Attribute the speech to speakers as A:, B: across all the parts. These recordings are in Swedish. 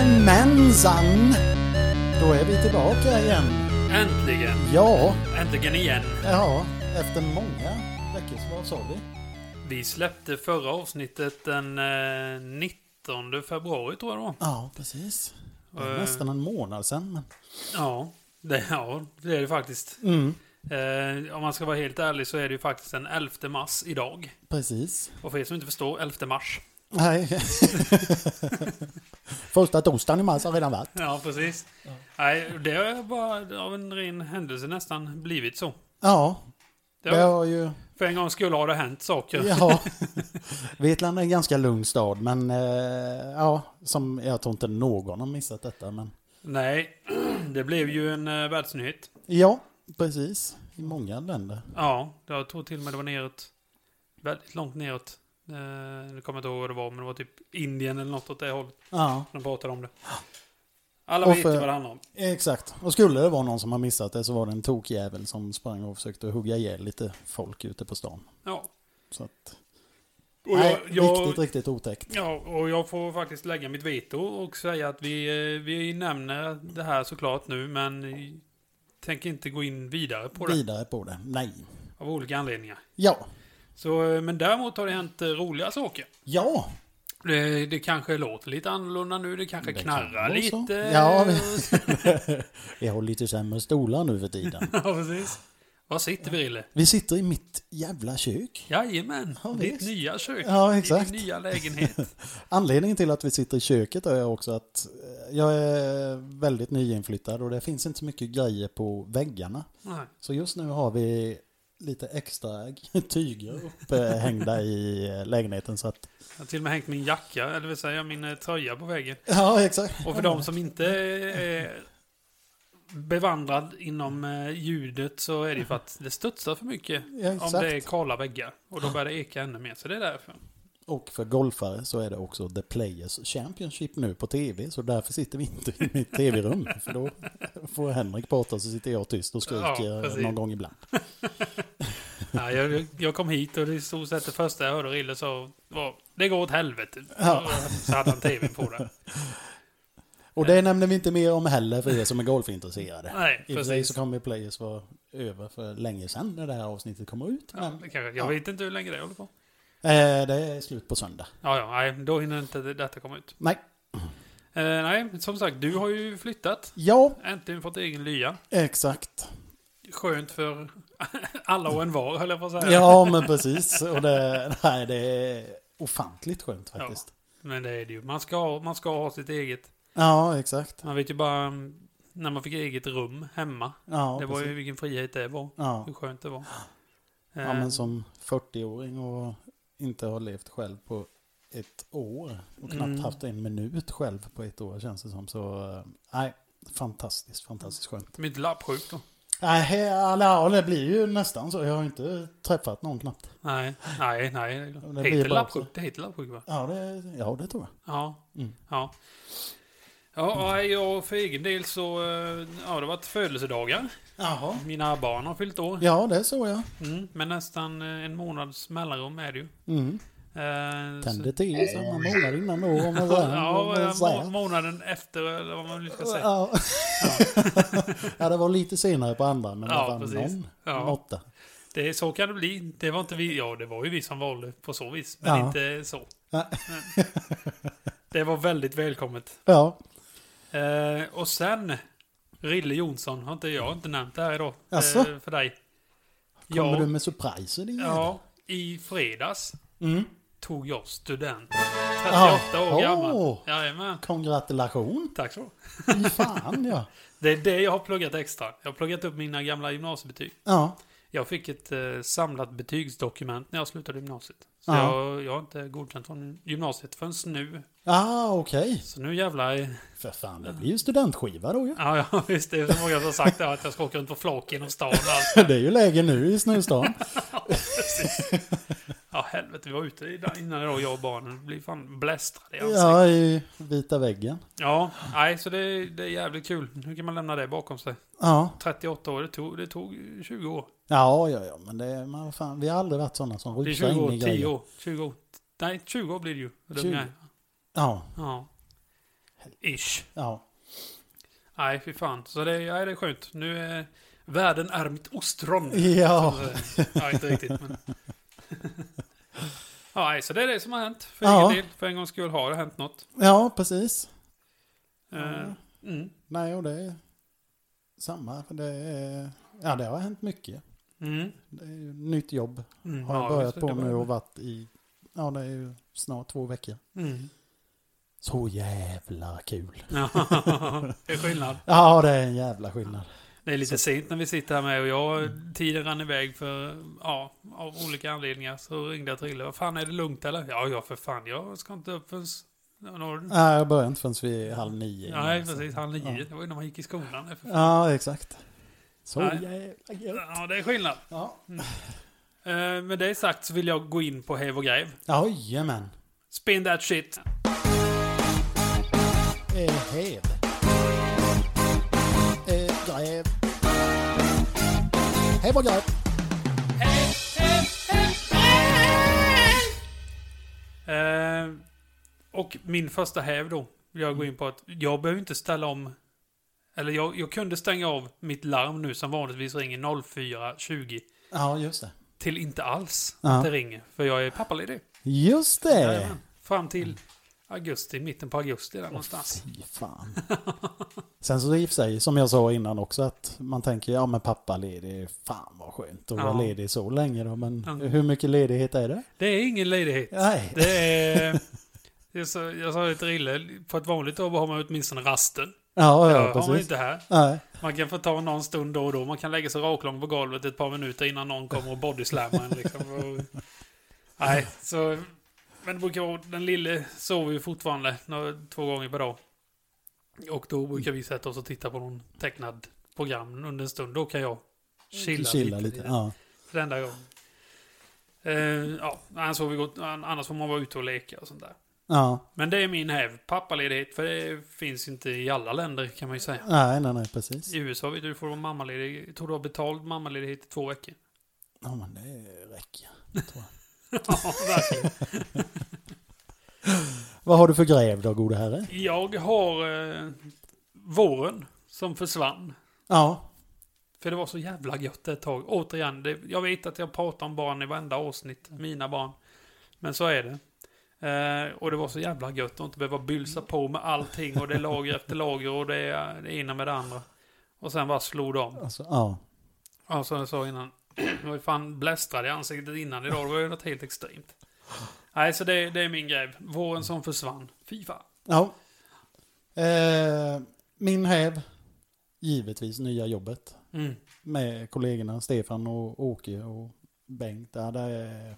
A: Jajamensan! Då är vi tillbaka igen.
B: Äntligen!
A: Ja,
B: Äntligen igen!
A: ja, efter många veckors vad sa vi?
B: Vi släppte förra avsnittet den eh, 19 februari tror jag det var.
A: Ja, precis. Det är
B: Eh.
A: nästan en månad sedan. Men...
B: Ja, det, ja, det är det faktiskt.
A: Mm,
B: Eh, om man ska vara helt ärlig så är det ju faktiskt den 11 mars idag.
A: precis.
B: Och för er som inte förstår, 11 mars.
A: Nej. Första torsdagen i mars har redan varit.
B: Ja, precis. Nej, det har bara av en ren händelse nästan blivit så.
A: Ja,
B: Det
A: det
B: har,
A: har ju...
B: för en gång skulle har det hänt saker.
A: Ja. Vetland är en ganska lugn stad, men eh, ja, som jag tror inte någon har missat detta. Men...
B: Nej, det blev ju en eh, världsnyhet.
A: Ja, precis. I många länder.
B: Ja, jag tror till och med det var neråt. Väldigt långt neråt. Eh, nu kommer jag inte ihåg vad det var, men det var typ Indien eller något åt det hållet.
A: Ja,
B: De pratade om det. Alla
A: Och
B: vet
A: för-
B: ju vad det handlar om.
A: exakt. Och skulle det vara någon som har missat det så var det en tokjävel som sprang och försökte hugga ihjäl lite folk ute på stan.
B: Ja.
A: Så att,
B: Och
A: nej,
B: jag, jag,
A: riktigt, riktigt otäckt.
B: ja, och jag får faktiskt lägga mitt veto och säga att vi, eh, vi nämner det här såklart nu, men tänker inte gå in vidare på det.
A: Vidare på det. Nej.
B: Av olika anledningar.
A: Ja.
B: Så, eh, men däremot har det hänt eh, roliga saker.
A: Ja.
B: Det, Eh, det kanske låter lite annorlunda nu, det kanske
A: Det kan
B: knarrar
A: vara så.
B: lite.
A: Ja, vi- Vi har lite sämre stolar nu för tiden.
B: Ja, precis. Var sitter vi, Rille?
A: Vi sitter i mitt jävla kök.
B: Jajamän,
A: Ja,
B: ditt
A: visst.
B: nya kök.
A: Ja, exakt.
B: Din nya lägenhet.
A: Anledningen till att vi sitter i köket är också att eh, jag är väldigt nyinflyttad och det finns inte så mycket grejer på väggarna.
B: Nej.
A: Så just nu har vi lite extra tyger upphängda i eh, lägenheten så att...
B: Jag har till och med hängt min jacka, eller vill säga min eh, tröja på väggen.
A: Ja, exakt.
B: Och för de som inte är bevandrad inom eh, ljudet så är det ju för att det studsar för mycket.
A: Ja,
B: Om det är
A: exakt.
B: kala väggar. Och då börjar det eka ännu mer, så det är därför.
A: Och för golfare så är det också The Players Championship nu på tv så därför sitter vi inte i mitt tv-rum för då får Henrik prata så sitter jag tyst och
B: Ja,
A: skriker
B: precis.
A: någon gång ibland.
B: Ja, jag, jag kom hit och det i stort sett det första jag hörde Rille sa var det går åt helvete.
A: Ja.
B: Så hade han tvn på det.
A: Och det nämner vi inte mer om heller för er som är golfintresserade.
B: Nej,
A: I och för sig
B: precis.
A: så kommer Players vara över för länge sedan när det här avsnittet kommer ut.
B: Ja,
A: Men
B: det kanske, jag vet inte hur länge det håller på.
A: eh, det är slut på söndag.
B: Ja, ja, nej, då hinner inte det- detta komma ut.
A: Nej,
B: Eh, nej, som sagt, du har ju flyttat.
A: ja,
B: Äntligen fått egen lya.
A: exakt.
B: Skönt för alla och en var, höll jag på att säga.
A: Ja, men precis. Och det, nej, det är ofantligt skönt faktiskt.
B: Men det är det ju. Man ska, ha- man ska ha sitt eget.
A: Ja, exakt.
B: Man vet ju bara mm, när man fick eget rum hemma.
A: Ja,
B: det var
A: precis.
B: ju vilken frihet det var.
A: ja.
B: Hur skönt det var. Eh.
A: ja, men som 40-åring och inte har levt själv på ett år och knappt
B: Mm.
A: haft en minut själv på ett år känns det som. Så eh, nej, fantastiskt, fantastiskt skönt.
B: Eh, Mitt lappsjuk då.
A: Nej, he- ja, det blir ju nästan så. Jag har inte träffat någon knappt.
B: Nej, nej, nej.
A: blir
B: Det heter
A: bara
B: lappsjuk,
A: så.
B: det heter lappsjuk va?
A: Ja, det, ja, det tror jag.
B: Ja.
A: Mm.
B: Ja. Ja, och jag för egen del så... eh, Ja, det har varit födelsedagar.
A: Jaha.
B: Mina barn har fyllt år.
A: Ja, det såg jag.
B: Mm, men nästan eh, en månads mellanrum är det ju.
A: Mm.
B: Eh,
A: Tände till samma månad innan då, om man
B: så,
A: säger. om
B: ja,
A: man
B: eh,
A: säger.
B: må, månaden efter eller vad man nu ska säga.
A: Ja. ja, det var lite senare på andra, men
B: Ja,
A: det var
B: precis.
A: någon
B: Ja.
A: måtta.
B: Det, är- så kan det bli. Det var inte vi. Ja, det var ju vi som valde på så vis. Men
A: Ja.
B: inte så.
A: Nej.
B: Men det var väldigt välkommet.
A: Ja,
B: Eh, och sen, Rille Jonsson har inte jag inte nämnt det här idag.
A: Jaså?
B: Eh, för dig.
A: kommer
B: Ja,
A: du med surpriser din jävel?
B: ja, i fredags
A: mm.
B: tog jag student. 38
A: Jaha.
B: år gammal. Jajamän.
A: Kongratulation!
B: Tack så
A: Fy fan ja!
B: Det är det jag har pluggat extra. Jag har pluggat upp mina gamla gymnasiebetyg.
A: Ja,
B: Jag fick ett eh, samlat betygsdokument när jag slutade gymnasiet. Så
A: Ja.
B: jag, jag har inte godkänt från gymnasiet förrän nu.
A: ah, okej.
B: Så nu jävlar... eh,
A: För fan, det blir ju studentskiva då ju.
B: Ja, ja visst. Det är så många som har sagt det, att jag ska åka runt på flak genom stan. och allt.
A: Det är ju läge nu i snustan.
B: Ja, helvete. Vi var ute i- innan idag, jag och barnen. Blir fan blästrade i ansiktet.
A: Ja, i vita väggen.
B: Ja, nej, så det, det är jävligt kul. Nu kan man lämna det bakom sig.
A: Ja,
B: 38 år, det tog, det tog 20 år.
A: ja, ja, ja men det är, man, fan, vi har aldrig varit sådana som
B: Det är
A: rusar
B: 20 år,
A: in i
B: 10
A: grejer.
B: år, 20 år. Nej, 20 år blir det ju. Vad dum
A: 20.
B: jag är.
A: Ja,
B: Ja. Ish.
A: Ja.
B: Nej, fy fan. Så det, ja, det är skönt. Nu är världen är mitt ostron.
A: Ja.
B: Så, eh, ja, inte riktigt. Men... ja, nej, så det är det som har hänt. För
A: Ja.
B: egen del. För en gångs skull har det hänt något.
A: ja, precis.
B: Eh, Mm.
A: Nej, och det är samma. för Det är, ja, det har hänt mycket.
B: Mm.
A: Det är ju nytt jobb
B: Mm.
A: har jag
B: Ja,
A: börjat
B: visst, det
A: på
B: var-
A: nu och varit i, ja det är ju snart två veckor.
B: Mm.
A: Så jävla kul.
B: Ja, det är skillnad.
A: Ja, det är en jävla skillnad.
B: Det är lite sent när vi sitter här med och jag,
A: Mm.
B: tiden rann iväg för, ja, av olika anledningar så ringde jag Trille. Vad fan, är det lugnt eller? Ja, ja för fan, jag ska inte upp förrän... Ja, någon-
A: Nej, jag började inte förrän vid halv nio.
B: Nej, precis, han
A: Ja.
B: nio. Det var ju när man gick i skolan. Det är för fan.
A: Ja, exakt. Så
B: Nej.
A: jävla gött.
B: Ja, det är skillnad.
A: Ja,
B: Eh, Med det sagt så vill jag gå in på Häv och Gräv.
A: jajamän.
B: Spin that shit.
A: Eh, Hed. Eh, Gräv. Hej vad gräv.
B: Eh, och min första häv då, vill jag gå in på att jag behöver inte ställa om. Eller jag, jag kunde stänga av mitt larm nu som vanligtvis ringer 04.20
A: Ja, just det.
B: till inte alls
A: Ja. Eh.
B: att det ringer. För jag är pappaledig.
A: Just det.
B: Jajamän. Fram till augusti, mitten på augusti där någonstans.
A: Fy fan. Sen så i och för sig, som jag sa innan också, att man tänker ja men pappa ledig, fan vad skönt att
B: Ja.
A: vara ledig så länge då. Men
B: Ja.
A: hur mycket ledighet är det?
B: Det är ingen ledighet.
A: Nej.
B: Det är... Jag sa, jag sa det till Rille, på ett vanligt jobb har man åtminstone rasten.
A: Ja, ja,
B: Ja, har man
A: precis.
B: inte här.
A: Nej.
B: Man kan få ta någon stund då och då. Man kan lägga sig raklång på golvet ett par minuter innan någon kommer och bodyslammar en. Liksom. Och, nej, så... Men det brukar vara, den lille sover ju fortfarande några, två gånger per dag. Och då brukar vi sätta oss och titta på någon tecknad program under en stund. Då kan jag chilla,
A: Chilla
B: lite.
A: lite.
B: i det.
A: Ja.
B: För den där gången. Eh, ja, annars, får vi gå, annars får man vara ute och leka och sånt där.
A: ja.
B: Men det är min häv. Pappaledighet, för det finns inte i alla länder kan man ju säga.
A: Nej, nej, nej, precis.
B: I USA vet du, du får vara mammaledig. Jag tror du har betald mammaledighet i två veckor.
A: Ja, men det räcker. tror jag.
B: Ja, verkligen.
A: Vad har du för gräv då, gode herre?
B: Jag har eh, våren som försvann.
A: Ja.
B: För det var så jävla gött ett tag. Återigen, det, jag vet att jag pratar om barn i varenda avsnitt. Mina barn. Men så är det. Eh, och det var så jävla gött att inte behöva bylsa på med allting. Och det är lager efter lager och det är det ena med det andra. Och sen bara slog det om.
A: Alltså, ja.
B: Ja, som jag sa innan. Jag var ju fan blästrad i ansiktet innan idag. Det var ju något helt extremt. Nej, så det, det är min grej. Våren som försvann. Fy fan.
A: ja. Eh, min häv. Givetvis nya jobbet.
B: Mm.
A: Med kollegorna Stefan och Åke och Bengt. Ja, det är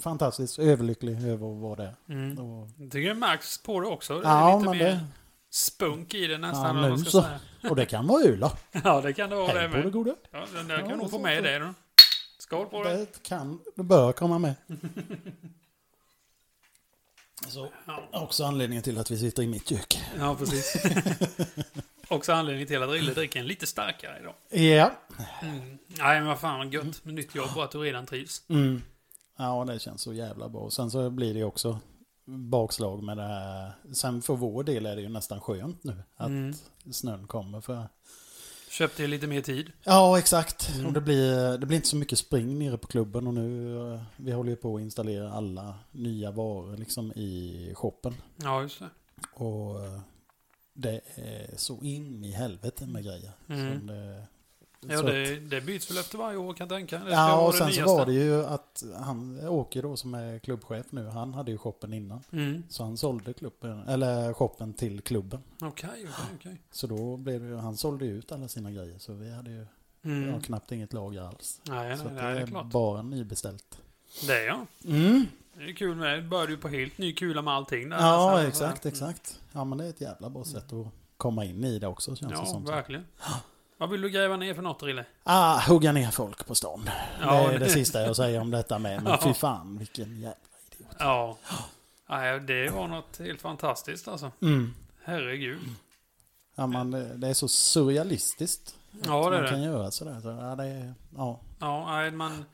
A: fantastiskt överlycklig över att vara där.
B: Mm.
A: Och,
B: Jag tycker det märks på det också. Det är
A: ja,
B: lite
A: men
B: mer
A: det,
B: spunk i det nästan.
A: Ja,
B: eller vad man
A: nu
B: ska
A: så.
B: säga.
A: och det kan vara Ula.
B: Ja, det kan det vara det
A: Hej på det
B: med.
A: gode.
B: Ja, den där kan
A: Ja,
B: nog
A: det
B: få
A: är
B: med
A: sant.
B: det då. Skål på dig.
A: Det kan, det bör komma med. Så,
B: Ja.
A: också anledningen till att vi sitter i mitt kök.
B: ja, precis. Också anledningen till att Rille dricker en lite starkare idag.
A: Ja.
B: Mm. Nej, men vad fan vad gött med nytt jobb och att du redan trivs.
A: Mm. Ja, det känns så jävla bra. Sen så blir det också bakslag med det här. Sen för vår del är det ju nästan skönt nu att
B: Mm.
A: snön kommer. För...
B: Köpte ju lite mer tid.
A: Ja, exakt.
B: Mm.
A: Och det blir, det blir inte så mycket spring nere på klubben och nu eh, vi håller ju på att installera alla nya varor liksom i shoppen.
B: Ja, just det.
A: Och eh, det är så in i helvete med grejer.
B: Mm.
A: Så det,
B: Ja,
A: så att-
B: det, det byts väl efter varje år kan jag tänka. Det ska
A: Ja,
B: vara
A: och
B: det
A: sen så
B: nyaste.
A: var det ju att han, Åke då som är klubbchef nu, han hade ju shoppen innan.
B: Mm.
A: Så han sålde klubben, eller shoppen till klubben.
B: Okej, okej, okej.
A: Så då blev det, ju- han sålde ju ut alla sina grejer. Så vi hade ju
B: Mm.
A: ja, knappt inget lager alls.
B: Nej,
A: så
B: nej,
A: att
B: nej, det är klart.
A: bara nybeställt.
B: Det är jag.
A: Mm.
B: Det är kul med. Det började ju på helt ny kula med allting. Där. Mm. Så
A: Ja,
B: här,
A: exakt,
B: så här.
A: exakt. Ja, men det är ett jävla bra sätt att komma in i det också känns det
B: Mm. Ja,
A: som.
B: verkligen. Vad vill du gräva ner för något, Rille?
A: Ah, hugga ner folk på stan.
B: Ja,
A: det är det
B: det-
A: sista jag säger om detta med. Men
B: Ja.
A: fy fan, vilken jävla...
B: Ja. Nej, det var något helt fantastiskt alltså.
A: Mm.
B: Herregud.
A: Ja, man, det är så surrealistiskt.
B: Ja, det är
A: man kan
B: det.
A: göra sådär. Så, ja, det är, ja.
B: Ja, nej, man...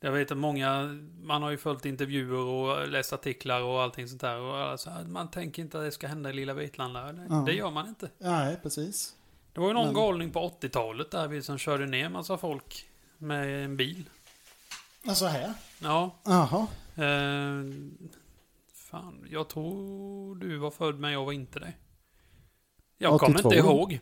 B: Jag vet att många, man har ju följt intervjuer och läst artiklar och allting sånt där. Och alla så här, man tänker inte att det ska hända i lilla Vetlanda. Det,
A: Ja.
B: det gör man inte.
A: Nej, precis.
B: Det var ju någon
A: Men-
B: galning på 80-talet där vi som körde ner massa folk med en bil.
A: Alltså här?
B: Ja,
A: Jaha.
B: eh, fan, jag tror du var född men jag var inte det. Jag kommer
A: 82.
B: inte ihåg.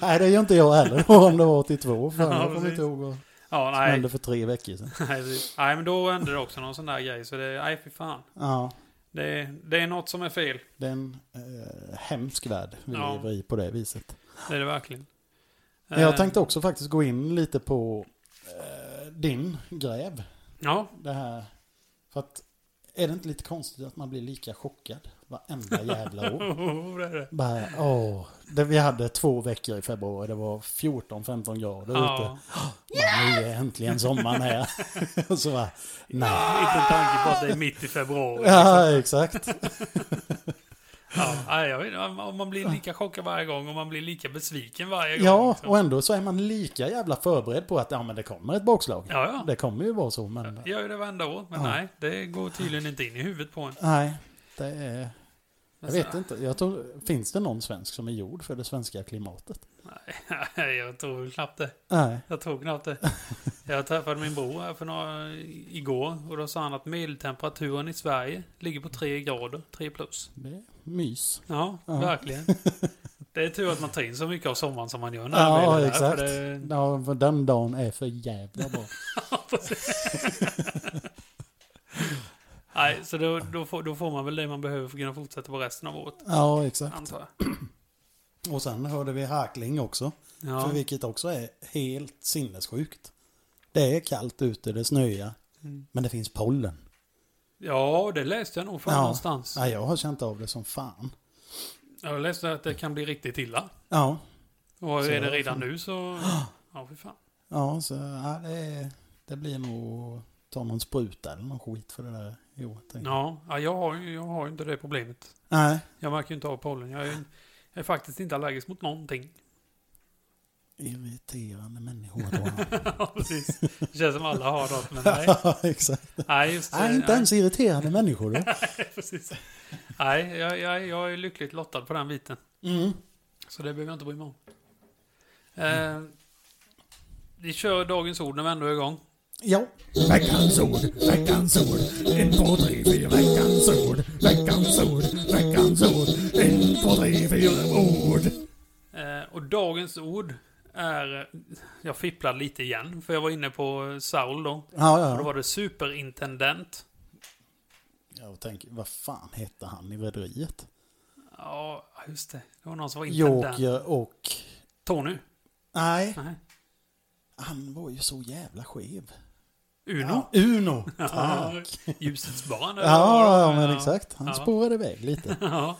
A: Nej, det gör inte jag heller. Om det var 82. Fan,
B: Ja,
A: jag kommer
B: precis.
A: inte ihåg vad som
B: Ja, nej.
A: hände för tre veckor sedan.
B: Nej, precis. nej, men då hände det också någon sån där grej. Så det, nej, fy fan.
A: Ja,
B: Det, det är något som är fel.
A: det är en eh, hemsk värld vi
B: Ja.
A: lever i på det viset.
B: Det är det verkligen.
A: Men Jag tänkte
B: Eh,
A: också faktiskt gå in lite på eh, din gräv.
B: Ja,
A: Det här. För att är det inte lite konstigt att man blir lika chockad varenda jävla år?
B: det är det.
A: Bara, åh, det, vi hade två veckor i februari, det var 14-15 grader ute.
B: Ja,
A: Bara, nu är äntligen sommaren här. Och så bara, nej.
B: inte en tanke på att det är mitt i februari.
A: Ja, exakt.
B: Ja, nej, jag vet, inte, om om man blir lika chockad varje gång och man blir lika besviken varje gång.
A: Ja,
B: liksom.
A: och ändå så är man lika jävla förberedd på att ja, men det kommer ett bakslag.
B: ja, ja.
A: Det kommer ju vara så, men
B: Jag gör ju det varenda år, men
A: Ja.
B: nej, det går tydligen inte in i huvudet på en.
A: nej, det är... Jag
B: Men så-
A: vet inte, jag tror, finns det någon svensk som är gjord för det svenska klimatet?
B: Nej, jag tror väl knappt det.
A: Nej.
B: Jag tror knappt det. Jag träffade min bror här för några, igår och då sa han att medeltemperaturen i Sverige ligger på 3 grader, 3 plus.
A: Det är mys.
B: Ja,
A: Ja.
B: verkligen. Det är tur att man tar in så mycket av sommaren som man gör när man
A: Ja,
B: är där,
A: exakt.
B: För det,
A: Ja, för den dagen är för jävla bra.
B: Nej, så då, då, får, då får man väl det man behöver för att kunna fortsätta på resten av året,
A: Ja, exakt.
B: antar jag.
A: Och sen hörde vi harkling också.
B: Ja,
A: För vilket också är helt sinnessjukt. Det är kallt ute, det snöar.
B: Mm.
A: Men det finns pollen.
B: ja det läste jag nog från
A: Ja.
B: någonstans.
A: Ja, jag har känt av det som fan.
B: Jag läste att det kan bli riktigt illa.
A: Ja,
B: Och
A: Så
B: är det
A: jag-
B: redan nu så... Ja, fy fan.
A: ja så ja, det, är- det blir nog att ta någon spruta eller någon skit för det där i år. tänker jag.
B: Ja, ja, jag har ju jag har ju inte det problemet.
A: Nej,
B: Jag märker ju inte av pollen. Jag är, jag är faktiskt inte allergisk mot någonting.
A: irriterande människor då.
B: Ja, precis. Det känns som alla har något, men nej. Alltså,
A: Ja, exakt.
B: Nej, just det.
A: Nej, inte ens irriterande människor då.
B: Nej, precis. Nej, jag, jag, jag är lyckligt lottad på den biten.
A: Mm.
B: Så det behöver jag inte bry mig om. Eh, vi kör dagens ord när vi ändå är igång.
A: Ja,
C: Veckans ord, veckans ord, en, två, tre, fyra, veckans ord, veckans ord, veckans ord, en, två, tre, fyra, ord.
B: Eh, och dagens ord är... Jag fipplade lite igen, för jag var inne på Saul då. Och
A: ja,
B: då
A: ja.
B: var det superintendent.
A: Jag tänker, vad fan hette han i Rederiet?
B: Ja, just det. Det var någon som var intendent.
A: Joker och...
B: Tony?
A: Nej,
B: Nej.
A: han var ju så jävla skev.
B: Uno?
A: Ja, Uno, tack.
B: Ljusets barn? eller vad
A: Ja,
B: det var?
A: men exakt. Han
B: Ja.
A: spårade iväg lite.
B: Ja.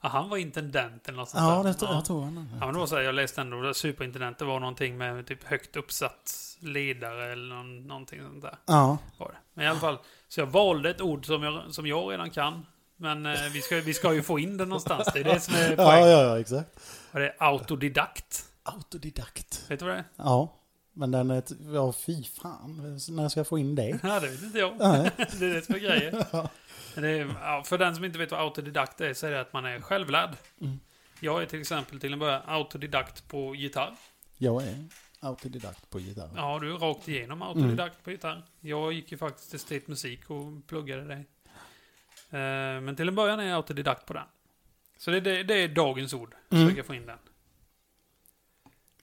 B: ja, han var intendent eller något sånt
A: Ja,
B: där.
A: det tror jag tror han.
B: Ja, men det var så här, jag läste ändå att superintendent, det var någonting med typ högt uppsatt ledare eller någon, någonting sånt där.
A: Ja,
B: Var det. Men i alla fall, så jag valde ett ord som jag, som jag redan kan. Men eh, vi, ska, vi ska ju få in det någonstans, det är det som är
A: ja,
B: poängen.
A: ja, ja, exakt.
B: Och Det är autodidakt.
A: Autodidakt.
B: Vet du vad det är?
A: Ja, men den är... ett- Ja, fy fan. När ska jag få in det?
B: Ja, det vet inte jag.
A: Nej.
B: Det är det som är grejen. Det är, ja, för den som inte vet vad autodidakt är så är det att man är självlärd.
A: Mm.
B: Jag är till exempel till en början autodidakt på gitarr.
A: Jag är autodidakt på gitarr.
B: Ja, du är rakt igenom autodidakt på gitarr. Jag gick ju faktiskt estet musik och pluggade det. Eh, Men till en början är jag autodidakt på den. Så det, det, det är dagens ord.
A: Mm.
B: Försöka få in den.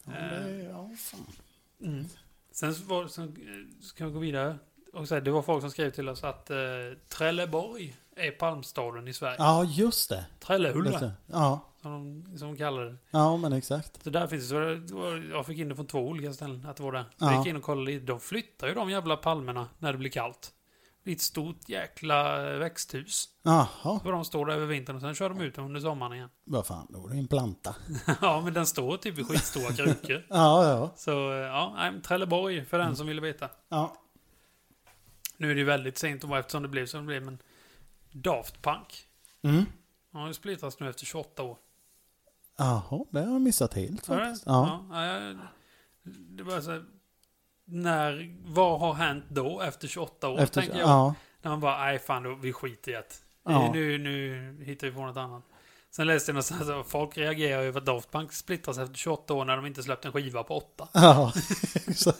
A: Ja, det, ja, fan.
B: Eh.
A: Mm.
B: Sen, så var, sen eh, ska vi gå vidare. Och så här, det var folk som skrev till oss att eh, Trelleborg är palmstaden i Sverige.
A: ja just det. Just
B: Trellehulla,
A: det. Ja,
B: som de, som de kallar det.
A: ja, men exakt.
B: Så där finns det, så det var- jag fick in det från två olika ställen att det var där. Så
A: Ja.
B: jag gick in och kollade lite. De flyttar ju de jävla palmerna när det blir kallt. Det är ett stort jäkla eh, växthus.
A: Jaha,
B: Så de står där över vintern och sen kör de ut dem under sommaren igen.
A: vad fan, då är det en planta.
B: ja, men den står typ i skitstora krukor.
A: Ja, ja,
B: Så eh, ja, nej, men Trelleborg för den som ville veta.
A: ja.
B: Nu är det ju väldigt sent att vara eftersom det blev som det blev, men Daft Punk.
A: Mm.
B: Ja, det splittas nu efter 28 år.
A: Jaha, det har jag missat helt
B: Var det?
A: faktiskt. Ja.
B: Ja. ja, jag- det var så här, när, vad har hänt då efter 28 år?
A: Efter,
B: tänker jag.
A: ja,
B: När han bara, nej fan, då, vi skiter i att...
A: Ja.
B: Nu, nu hittar vi på något annat. Sen läste jag någonstans att folk reagerar över att Daft Punk splittras efter 28 år när de inte släppt en skiva på 8.
A: ja. Så-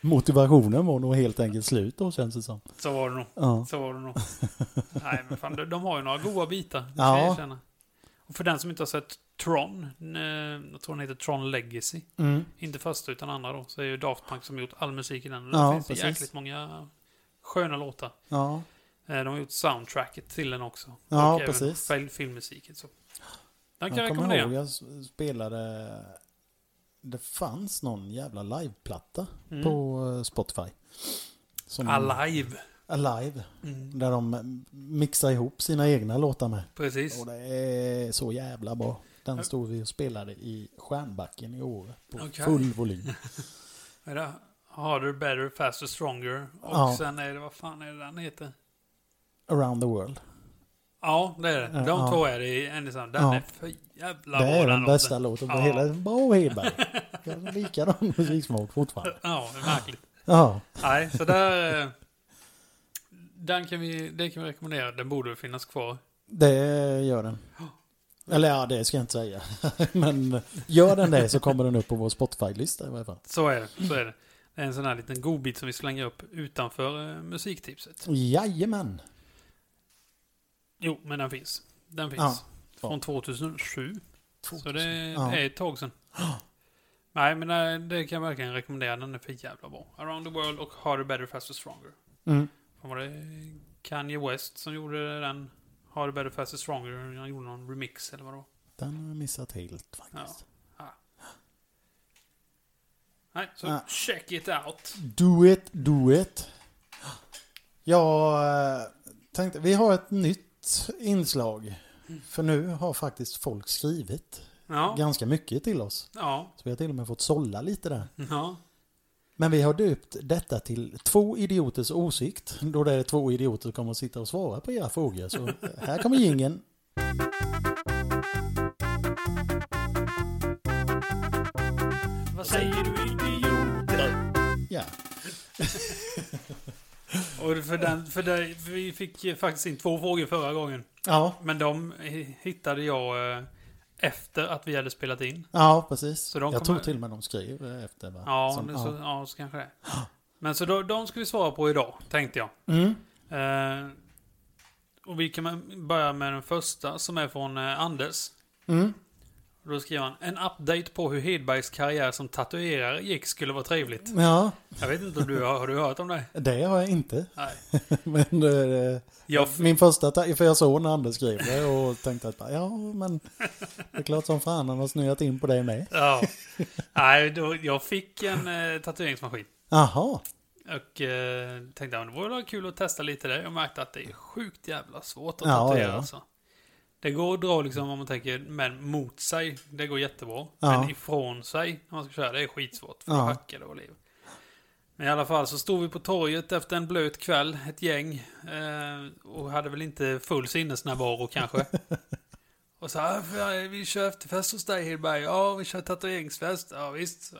A: Motivationen var nog helt enkelt slut då känns det som.
B: Så var det nog.
A: Ja.
B: Så var det nog. Nej, men fan, de, de har ju några goda bitar. Det ska
A: Ja.
B: jag erkänna. Och för den som inte har sett Tron, eh, jag tror den heter Tron Legacy.
A: Mm.
B: Inte första utan andra då, så är ju Daft Punk som gjort all musik i den. Och
A: Ja,
B: det finns
A: precis.
B: jäkligt många sköna låtar.
A: Ja.
B: Eh, De har gjort soundtracket till den också.
A: Ja,
B: och
A: precis.
B: Även fil- filmmusiken. Så. Den kan jag
A: jag kommer
B: rekommendera.
A: ihåg jag s- spelade... Det fanns någon jävla liveplatta
B: Mm.
A: på eh, Spotify. Som
B: Alive.
A: Alive.
B: Mm.
A: Där de eh, mixar ihop sina egna låtar med.
B: Precis.
A: Och det är så jävla bra. Den
B: Ja.
A: stod vi och spelade i Stjärnbacken i år på
B: Okej.
A: full volym.
B: Vad är det? Harder, better, faster, stronger. Och
A: Ja.
B: sen är det, vad fan är det den heter?
A: Around the world.
B: Ja, det är det.
A: Ja,
B: De
A: ja.
B: två är det i en och samma. Den
A: Ja.
B: är för jävla
A: Det
B: bra
A: är
B: den
A: den
B: låten.
A: bästa låten på
B: Ja.
A: hela... Bo Hedberg. Jag har Likadan musiksmak fortfarande.
B: Ja, det är märkligt.
A: Ja,
B: Nej, så där... eh, Den kan vi, den kan vi rekommendera. Den borde finnas kvar.
A: det gör den. Eller ja, det ska jag inte säga. Men gör den det så kommer den upp på vår Spotify-lista i varje fall.
B: Så är det. Så är det. Det är en sån här liten godbit som vi slänger upp utanför eh, musiktipset.
A: Jajamän.
B: Jo, men den finns. Den finns.
A: Ja.
B: Från 2007. Så det,
A: Ja.
B: det är ett tag sedan. Nej, men eh, det kan jag verkligen rekommendera. Den är för jävla bra. Around the World och Harder, Better, Faster, Stronger.
A: Mm.
B: Vad var det Kanye West som gjorde den? Harder, Better, Faster, Stronger. Han gjorde någon remix eller vad det var.
A: Den har jag missat helt faktiskt.
B: Nej, så
A: Ja.
B: check it out.
A: Do it, do it. Jag eh, tänkte, vi har ett nytt inslag. För nu har faktiskt folk skrivit
B: Ja,
A: ganska mycket till oss.
B: ja,
A: Så vi har till och med fått sålla lite där.
B: ja.
A: Men vi har döpt detta till Två idioters åsikt. Då det är två idioter som kommer att sitta och svara på era frågor. Så här kommer jingeln.
B: Vad säger du idioter?
A: Ja.
B: Och för den, för den, för vi fick ju faktiskt in två frågor förra gången.
A: Ja,
B: Men de hi- hittade jag eh, efter att vi hade spelat in.
A: ja precis.
B: Så de
A: jag
B: kommer-
A: tror till och med de skrev efter va?
B: Ja,
A: Som-
B: det- så, ja. så kanske det är. Men så då, de ska vi svara på idag, tänkte jag.
A: Mm.
B: Eh, och vi kan börja med den första som är från eh, Anders.
A: Mm.
B: Och Då skriver han en update på hur Hedbergs karriär som tatuerare gick skulle vara trevligt.
A: Ja,
B: Jag vet inte om du har, har du hört om det?
A: det har jag inte.
B: Nej.
A: Men eh,
B: Jag,
A: min första tanke, för jag såg när Anders skrev det och tänkte att ja, men det är klart som fan han har snöat in på det med.
B: ja. Nej, då, jag fick en eh, tatueringsmaskin.
A: Jaha,
B: Och eh, tänkte att det vore väl kul att testa lite det. Jag märkte att det är sjukt jävla svårt att
A: Ja,
B: tatuera
A: ja.
B: alltså. Det går att dra liksom om man tänker män mot sig. Det går jättebra.
A: Ja.
B: Men ifrån sig när man ska köra det är skitsvårt. För
A: Ja.
B: det hackar det och liv. Men i alla fall så stod vi på torget efter en blöt kväll, ett gäng. Eh, och hade väl inte full sinnesnärvaro kanske. och så här, "Fan, vi kör efterfest hos dig Hedberg. Ja, vi kör tatueringsfest. Ja, visst. Så,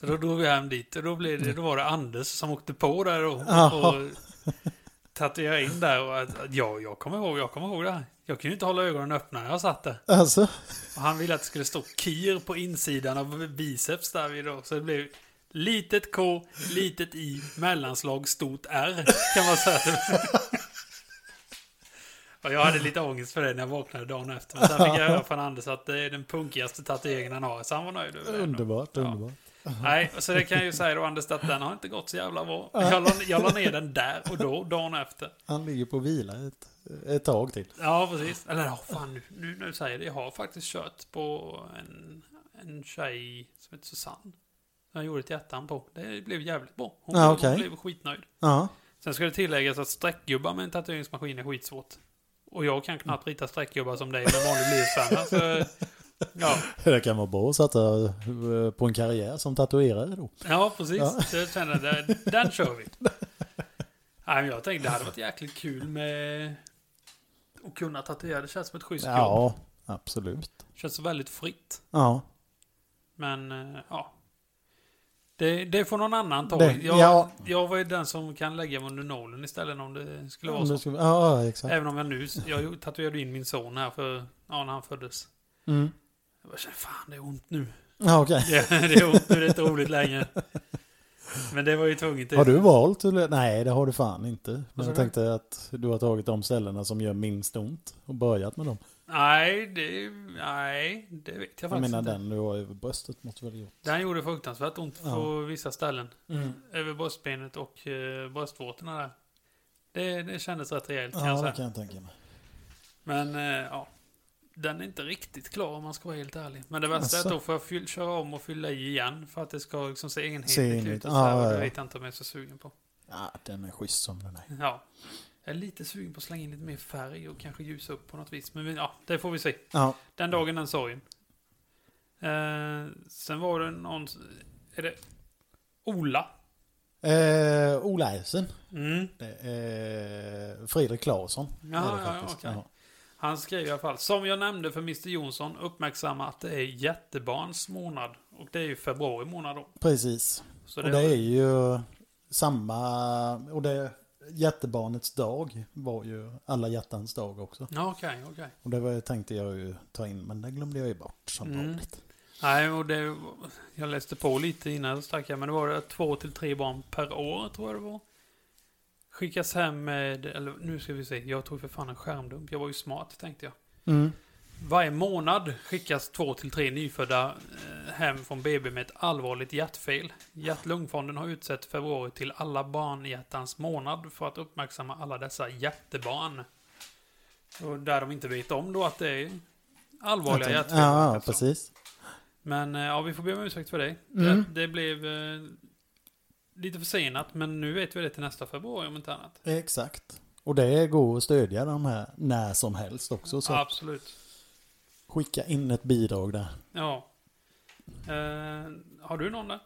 B: så då drog vi hem dit och då, blev det, då var det Anders som åkte på där och, och
A: Jaha.
B: tatuerade in där. Och att, att, ja, jag kommer ihåg, jag kommer ihåg det här. Jag kunde ju inte hålla ögonen öppna när jag satt där.
A: alltså.
B: Och han ville att det skulle stå KIR på insidan av biceps där vid då. Så det blev litet K, litet I, mellanslag, stort R. Kan man säga. Och jag hade lite ångest för det när jag vaknade dagen efter. Men sen fick jag höra från Anders att det är den punkigaste tatueringen han har. Så han var nöjd över det. ändå.
A: Underbart,
B: Ja.
A: underbart.
B: Nej, så det kan jag ju säga då Anders att den har inte gått så jävla bra. Jag la, jag la ner den där och då, dagen efter.
A: Han ligger på vila ett, ett tag till.
B: Ja, precis. Eller ja, fan nu, nu när du säger det. Jag har faktiskt kört på en, en tjej som heter Susanne. Jag gjorde ett hjärtan på. Det blev jävligt bra. Hon,
A: Ja,
B: blev-
A: okej.
B: hon blev skitnöjd.
A: Ja,
B: Sen ska det tilläggas att streckgubbar med en tatueringsmaskin är skitsvårt. Och jag kan knappt rita streckgubbar som dig med en vanlig blyertspenna. så, Ja,
A: det kan vara bra att sätta eh, på en karriär som tatuerare då.
B: ja, precis.
A: Ja.
B: Det känner jag, det- den kör vi. Nej, men jag tänkte det hade varit jäkligt kul med att kunna tatuera. Det känns som ett schysst jobb.
A: Ja, absolut.
B: Känns väldigt fritt.
A: Ja,
B: Men eh, ja. Det, det får någon annan ta.
A: Det-
B: jag,
A: ja.
B: jag var ju den som kan lägga mig under nålen istället om det skulle vara
A: Om
B: så.
A: du skulle- Ja, ja, exakt.
B: Även om jag nu, jag tatuerade in min son här för, ja, när han föddes.
A: Mm.
B: Jag bara kände, fan det är ont nu.
A: Ja, okej.
B: Det, det är ont nu, det är inte roligt längre. Men det var ju tvunget.
A: Har du valt? eller? Nej, det har du fan inte. Men
B: Vad sa
A: jag
B: du?
A: tänkte att du har tagit de ställena som gör minst ont och börjat med dem.
B: Nej, det, nej, det vet jag
A: Jag
B: faktiskt
A: menar
B: inte.
A: den du har över bröstet måste väl ha gjort.
B: Den gjorde fruktansvärt ont på vissa ställen.
A: Mm.
B: Över bröstbenet och eh, bröstvårtorna där. Det, det kändes rätt rejält kan jag
A: Ja, det
B: säga.
A: kan jag tänka mig.
B: Men eh, ja, den är inte riktigt klar om man ska vara helt ärlig. Men det värsta är
A: Asså.
B: att då får jag fyll, köra om och fylla i igen för att det ska liksom se enhetligt
A: Se enhetligt.
B: ut. Och så här,
A: Ja,
B: och
A: ja,
B: det
A: ja.
B: vet jag inte om jag är så sugen på.
A: Ja, den är schysst som den är.
B: Ja. Jag är lite sugen på att slänga in lite mer färg och kanske ljusa upp på något vis. Men vi- ja, det får vi se.
A: Ja,
B: Den dagen, den sorgen. Eh, sen var det någon... Är det Ola?
A: eh, Ola Eisen.
B: Mm.
A: Det är Fredrik Claesson.
B: Ja,
A: är det
B: ja, ja,
A: faktiskt.
B: okej. Han skrev i alla fall. Som jag nämnde för Mr Jonsson, uppmärksamma att det är jättebarns månad. Och det är ju februari månad då.
A: Precis.
B: Så
A: och det är ju samma... Och det jättebarnets dag var ju alla hjärtans dag också.
B: Ja, okej, okej.
A: Och det var, tänkte jag ju ta in, men det glömde jag ju bort som
B: Mm.
A: vanligt.
B: Nej, och det... Jag läste på lite innan, stack jag, men det var det två till tre barn per år, tror jag det var. Skickas hem med... Eller nu ska vi se. Jag tog för fan en skärmdump. Jag var ju smart, tänkte jag. Varje månad skickas två till tre nyfödda eh, hem från BB med ett allvarligt hjärtfel. Hjärt-lungfonden har utsett februari till alla barnhjärtans månad för att uppmärksamma alla dessa hjärtebarn. Och där de inte vet om då att det är allvarliga
A: Jag tänkte-
B: hjärtfel.
A: Ja, ja,
B: Alltså.
A: precis.
B: Men eh, ja, vi får be om ursäkt för det.
A: Mm.
B: Det, det blev eh, lite försenat, men nu vet vi det till nästa februari om inte annat.
A: Exakt. Och det går att stödja de här när som helst också. Så
B: Absolut.
A: skicka in ett bidrag där.
B: Ja. Eh, har du någon där?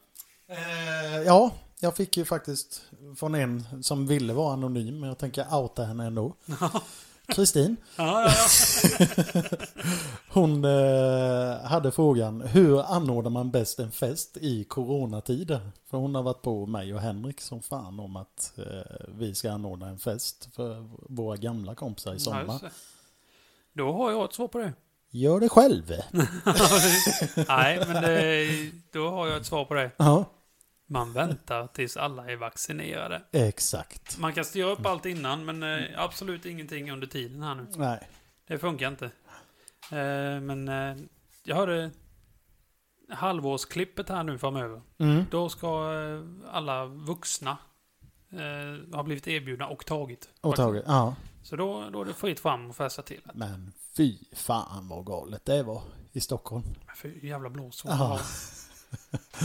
A: Eh, ja, jag fick ju faktiskt från en som ville vara anonym, men jag tänker outa henne ändå. Kristin,
B: Ja, ja, ja.
A: hon eh, hade frågan hur anordnar man bäst en fest i coronatider? För hon har varit på mig och Henrik som fan om att eh, vi ska anordna en fest för våra gamla kompisar i
B: Ja,
A: sommar.
B: just det. Då har jag ett svar på det.
A: Gör det själv!
B: Nej, men det, då har jag ett svar på det.
A: ja,
B: Man väntar tills alla är vaccinerade.
A: exakt.
B: Man kan styra upp allt innan, men
A: Mm.
B: eh, absolut ingenting under tiden här nu.
A: Nej.
B: Det funkar inte. Eh, Men eh, jag hörde halvårsklippet här nu framöver.
A: Mm.
B: Då ska eh, alla vuxna eh, ha blivit erbjudna och tagit.
A: Och taget, ja.
B: Så då, då är det fritt fram och fästa till.
A: Men fy fan vad galet det var i Stockholm.
B: Men För jävla blåsor.
A: Ja.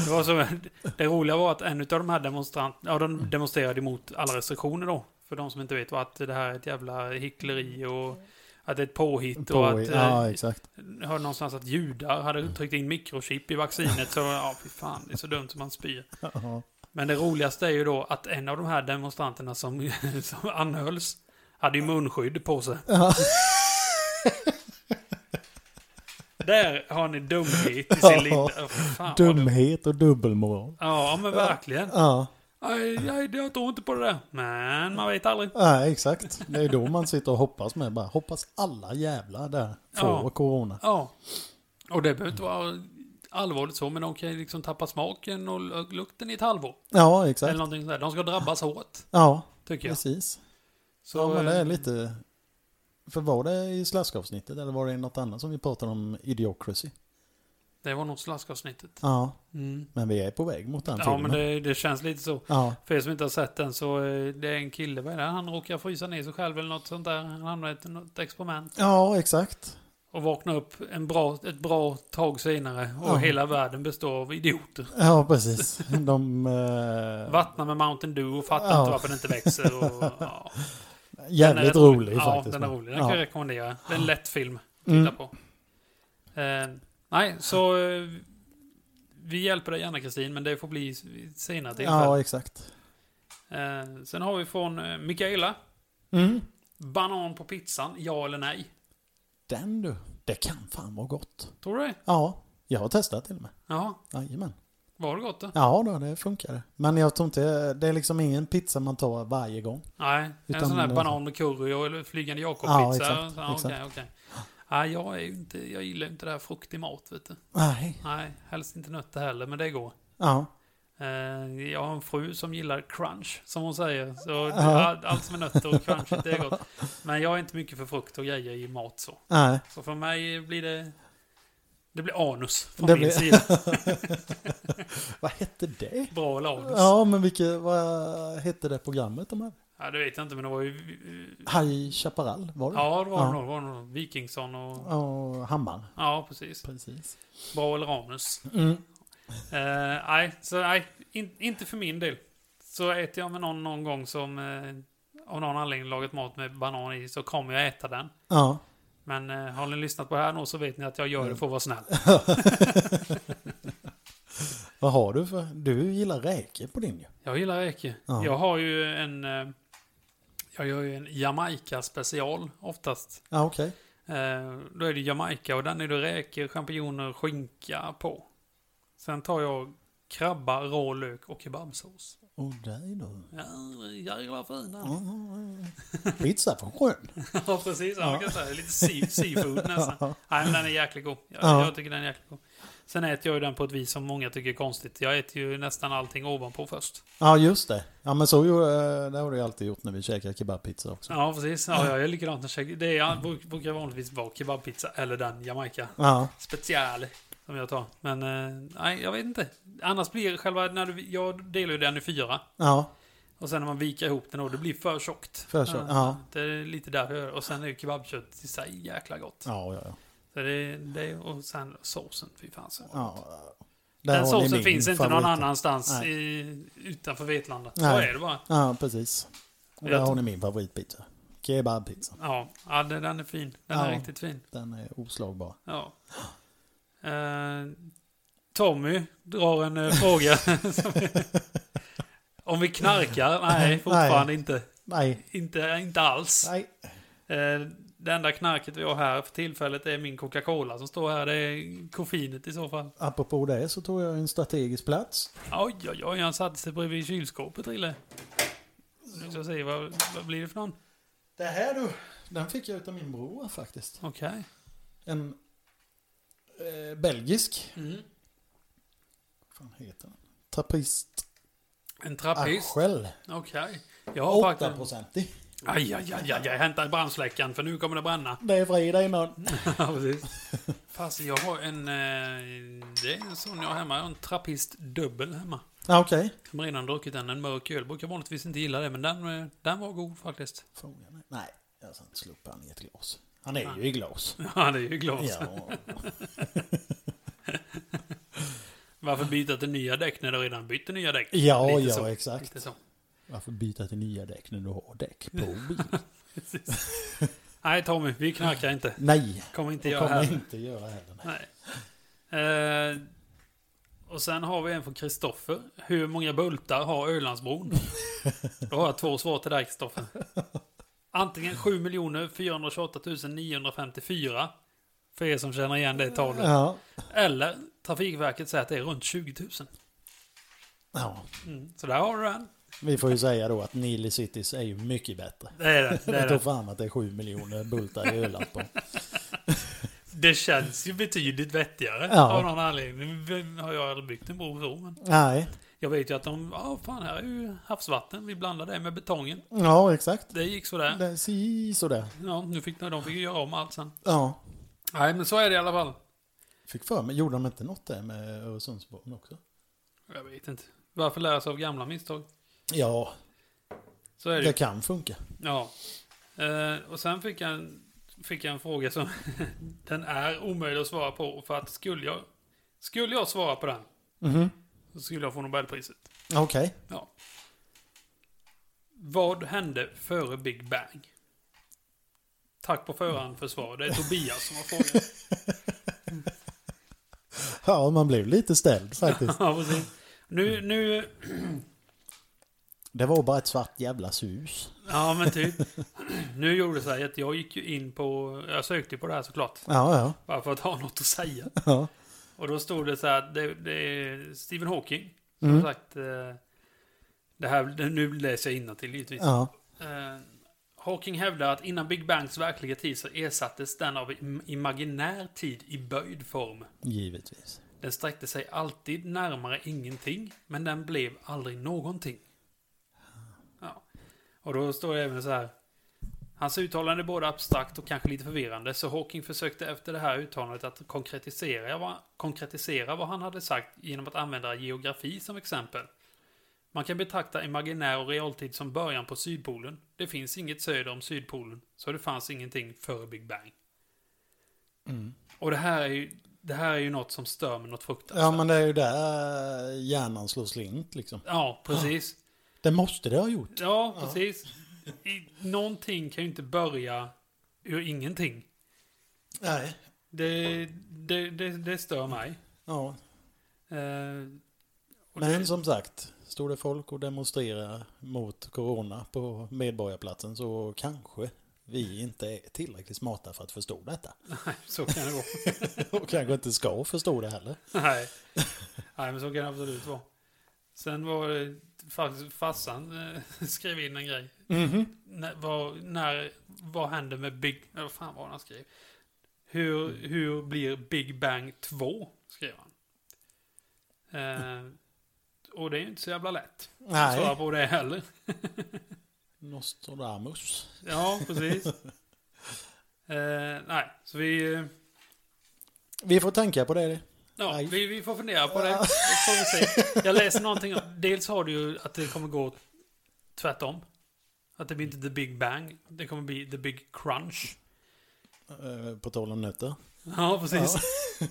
B: Det, var så, det roliga var att en av de här demonstranterna, ja
A: Mm.
B: de demonstrerade emot alla restriktioner då. För de som inte vet var att det här är ett jävla hyckleri och att det är ett påhitt och att...
A: ja,
B: eh,
A: exakt.
B: Jag hörde någonstans att judar hade tryckt in mikrochip i vaccinet så ja, fy fan, det är så dumt som man spyr.
A: Ja.
B: Men det roligaste är ju då att en av de här demonstranterna som, som anhölls hade ju munskydd på sig.
A: Ja.
B: Där har ni dumhet i sin linda. Ja, fy fan, vad dumt.
A: Dumhet och dubbelmoral.
B: Ja, men verkligen.
A: Ja,
B: Aj, aj, jag tror inte på det där. Men man vet aldrig.
A: ja, exakt. Det är då man sitter och hoppas med. Bara, hoppas alla jävlar där får
B: Ja.
A: corona.
B: Ja. Och det behöver inte vara allvarligt så, men de kan ju liksom tappa smaken och lu- lukten i ett halvår.
A: Ja,
B: Eller
A: exakt.
B: någonting sådär. De ska drabbas hårt,
A: Ja,
B: tycker jag.
A: precis.
B: Så,
A: Ja, men det är
B: eh,
A: lite... För var det i slaskavsnittet eller var det i något annat som vi pratade om idiocracy?
B: det var nog slaskavsnittet.
A: Ja,
B: Mm.
A: men vi är på väg mot den
B: Ja,
A: filmen.
B: men det, det känns lite så.
A: Ja,
B: För er som inte har sett den så eh, det är en kille, vad är det? Han råkar frysa ner sig själv eller något sånt där. Han hamnar i ett, något experiment.
A: ja, exakt.
B: Och vaknar upp en bra, ett bra tag senare. Och
A: Ja.
B: hela världen består av idioter.
A: Ja, precis. De... eh,
B: Vattnar med Mountain Dew och fattar
A: Ja.
B: inte varför den inte växer. Och, ja. Den är
A: Jävligt
B: rätt
A: rolig
B: ja,
A: faktiskt.
B: den är rolig. Den kan jag rekommendera. Det är en lätt film att titta
A: Mm.
B: på. Eh, nej, så eh, vi hjälper dig gärna Kristin, men det får bli s- vid ett senare tillfälle.
A: Ja, exakt.
B: Eh, sen har vi från eh, Mikaela.
A: Mm.
B: Banan på pizzan, ja eller nej?
A: Den du. Det kan fan vara gott.
B: Tror du det?
A: Ja, jag har testat till och med.
B: Ja.
A: Jajamän.
B: Var det gott då?
A: Ja då, det funkar. Men jag tror inte, det är liksom ingen pizza man tar varje gång.
B: Nej,
A: Utan-
B: en sån där banan med curry och eller flygande
A: Ja,
B: Jakob-pizza.
A: exakt,
B: Ja,
A: exakt.
B: okej, okej. Nej, jag, är ju inte, jag gillar ju inte det här frukt i mat, vet du.
A: Nej.
B: Nej, helst inte nötter heller, men det går.
A: Ja.
B: Eh, Jag har en fru som gillar crunch, som hon säger. Så
A: Ja.
B: all- allt som är nötter och crunch, det är gott. Men jag är inte mycket för frukt och grejer i mat så.
A: Nej.
B: Så för mig blir det... Det blir anus från
A: Det
B: min
A: blir-
B: sida.
A: Vad hette det?
B: Bra eller anus? Ja.
A: Ja, men vilket, vad hette det programmet de hade?
B: det vet jag inte, men det var ju...
A: High Chaparral, var det?
B: Ja, det var
A: Ja.
B: nog. Det var nog Vikingsson och...
A: Och Hammar.
B: Ja, precis.
A: Precis.
B: Bra eller anus.
A: Mm.
B: Eh, nej, så nej, in, inte för min del. Så äter jag med någon någon gång som eh, av någon anledning lagat mat med banan i så kommer jag äta den.
A: Ja.
B: Men eh, har ni lyssnat på det här nu så vet ni att jag gör det för att vara snäll.
A: Vad har du för? Du gillar räkor på din ju.
B: Jag gillar räkor.
A: Ja.
B: Jag har ju en... Eh, jag gör ju en Jamaica special oftast.
A: Ja, okej.
B: Eh, då är det Jamaica och den är det räkor, champinjoner, skinka på. Sen tar jag krabba, rå lök och kebabsås.
A: Och dig då?
B: Ja, jävla fin den.
A: Pizza från sjön.
B: Ja, precis. Ja, man kan säga. Lite sea- seafood nästan. Nej, men den är jäkligt god. Jag,
A: Ja.
B: jag tycker den är jäkligt god. Sen äter jag ju den på ett vis som många tycker är konstigt. Jag äter ju nästan allting ovanpå först.
A: Ja, just det. Ja, men så gjorde- det har du ju alltid gjort när vi käkar kebabpizza också.
B: Ja, precis. Ja, jag är likadant. när jag käkar- Det är, jag bruk- brukar vanligtvis vara kebabpizza eller den Jamaica
A: Ja.
B: special som jag tar. Men eh, nej, jag vet inte. Annars blir själva, när du, jag delar ju den i fyra.
A: Ja.
B: Och sen när man viker ihop den då, det blir för tjockt.
A: För tjockt, ja.
B: Det är lite därför jag gör. Och sen är ju kebabkött i sig jäkla gott.
A: Ja, ja, ja.
B: Så det, det, och sen såsen, fy fan. Så.
A: ja. Där
B: Den
A: har ni
B: såsen
A: min
B: finns inte någon
A: favorit.
B: annanstans
A: Nej.
B: i, utanför Vetlanda. Så
A: Nej.
B: är det bara.
A: Ja, precis. Och där
B: Jag
A: har
B: tror-
A: ni min favoritpizza. Kebabpizza.
B: Ja, ja den den är fin. Den är
A: Ja.
B: riktigt fin.
A: Den är oslagbar.
B: Ja. Eh, Tommy drar en eh, fråga. som är- Om vi knarkar? Nej, fortfarande inte.
A: Nej,
B: Inte, inte alls.
A: nej.
B: Eh, Det enda knarket vi har här för tillfället är min Coca-Cola som står här. Det är koffeinet i så fall.
A: Apropå det så tog jag en strategisk plats.
B: Oj, oj, oj, han satte sig bredvid kylskåpet, Rille. Nu ska jag se, vad, vad blir det för någon?
A: Det här du, den fick jag av min bror faktiskt.
B: Okej.
A: En eh, belgisk.
B: Mm.
A: Vad fan heter den? Tapist
B: En trappist.
A: Achel.
B: Okej. Jag har faktiskt...
A: 8-procentig.
B: Aj, aj, aj, aj, aj, hämta brandsläckaren för nu kommer det bränna.
A: Det är fredag imorgon.
B: Ja, precis. Fast jag har en... eh, Det är en sån jag har hemma. Jag har en trappist dubbel hemma.
A: Ja, okej.
B: Som redan druckit en, en mörk öl. Brukar vanligtvis inte gilla det, men den, eh, den var god faktiskt.
A: Frågan är... Nej, jag ska inte slå upp han i ett glas. Han är ju i glas.
B: Ja, det är ju glas.
A: Ja,
B: Varför byta till nya däck när du redan bytte nya däck?
A: ja,
B: Lite
A: ja,
B: så.
A: exakt.
B: Lite så.
A: Varför byta till nya däck när du har däck på bil?
B: Nej, Tommy, vi knarkar inte.
A: Nej,
B: Kommer inte
A: det
B: göra
A: kommer
B: här.
A: inte göra heller. nej.
B: Nej. Eh, och sen har vi en från Kristoffer. Hur många bultar har Ölandsbron? Då har jag två svar till dig Kristoffer. Antingen 7 428 954. För er som känner igen det talet.
A: Ja.
B: Eller Trafikverket säger att det är runt 20 000.
A: ja,
B: Mm. Så där har du den.
A: vi får ju säga då att Nile Cities är ju mycket bättre.
B: Det är det. Det,
A: Det
B: är
A: tror
B: det.
A: fan att det är 7 miljoner bultar i Öland på.
B: det känns ju betydligt vettigare.
A: Ja.
B: Av någon anledning. Nu har jag aldrig byggt en bro så. Men
A: Nej,
B: jag vet ju att de, ja fan här är ju havsvatten. Vi blandar det med betongen.
A: ja exakt.
B: Det gick sådär.
A: Det är si sådär.
B: Ja, nu fick de, de fick ju göra om allt sen.
A: Ja.
B: Nej, men så är det i alla fall.
A: Fick för mig, gjorde de inte något där med Öresundsbron också?
B: Jag vet inte. Varför lära sig av gamla misstag?
A: Ja,
B: Så är det
A: det
B: ju.
A: kan funka.
B: Ja. Eh, och sen fick jag, en, fick jag en fråga som den är omöjlig att svara på. För att skulle jag, skulle jag svara på den
A: Mhm.
B: så skulle jag få Nobelpriset.
A: Okej.
B: Ja. Vad hände före Big Bang? Tack på förhand för svar. Det är Tobias som har frågat.
A: Ja, man blev lite ställd faktiskt.
B: Ja, precis. Nu, nu
A: Det var bara ett svart jävla sus.
B: Ja, men typ. Nu gjorde det så här att jag gick ju in på... Jag sökte ju på det här såklart.
A: Ja, ja.
B: Bara för att ha något att säga.
A: ja.
B: Och då stod det så här, det, det är Stephen Hawking. Som
A: Mm.
B: har sagt, eh, det här, det- nu läser jag innantill givetvis.
A: Ja.
B: Eh, Hawking hävdar att innan Big Bangs verkliga tid så ersattes den av im- imaginär tid i böjd form.
A: Givetvis.
B: Den sträckte sig alltid närmare ingenting, men den blev aldrig någonting. Ja. Och då står det även så här. Hans uttalande är både abstrakt och kanske lite förvirrande, så Hawking försökte efter det här uttalandet att konkretisera vad, konkretisera vad han hade sagt genom att använda geografi som exempel. Man kan betrakta imaginär och realtid som början på Sydpolen. Det finns inget söder om Sydpolen, så det fanns ingenting före Big Bang. Och det här är ju, det här är ju något som stör mig något fruktansvärt.
A: Ja, men det är ju där hjärnan slår slint liksom.
B: Ja, precis.
A: Det måste det ha gjort.
B: Ja, precis. I, någonting kan ju inte börja ur ingenting.
A: Nej.
B: Det, det, det, det stör mig.
A: Ja.
B: Eh, och
A: Men
B: det,
A: som sagt, står det folk och demonstrerar mot corona på Medborgarplatsen så kanske vi inte är tillräckligt smarta för att förstå detta.
B: nej, så kan det vara.
A: Och kanske inte ska förstå det heller.
B: nej. nej, men så kan det absolut vara. Sen var det faktiskt farsan eh, skrev in en grej. När, vad, när, vad händer med Big... Vad fan var det han skrev? Hur, hur blir Big Bang 2? Skrev han. Eh, och det är ju inte så jävla lätt. att Svara
A: Nej.
B: på det heller.
A: Nostradamus.
B: Ja, precis. eh, nej, så vi... eh,
A: Vi får tänka på det.
B: Ja,
A: Nej.
B: vi, vi får fundera på det. det får vi se. Jag läser någonting. om- Dels har du ju att det kommer gå tvärtom. Att det blir inte the big bang. Det kommer bli the big crunch.
A: eh, På tal om nötter.
B: Ja, precis.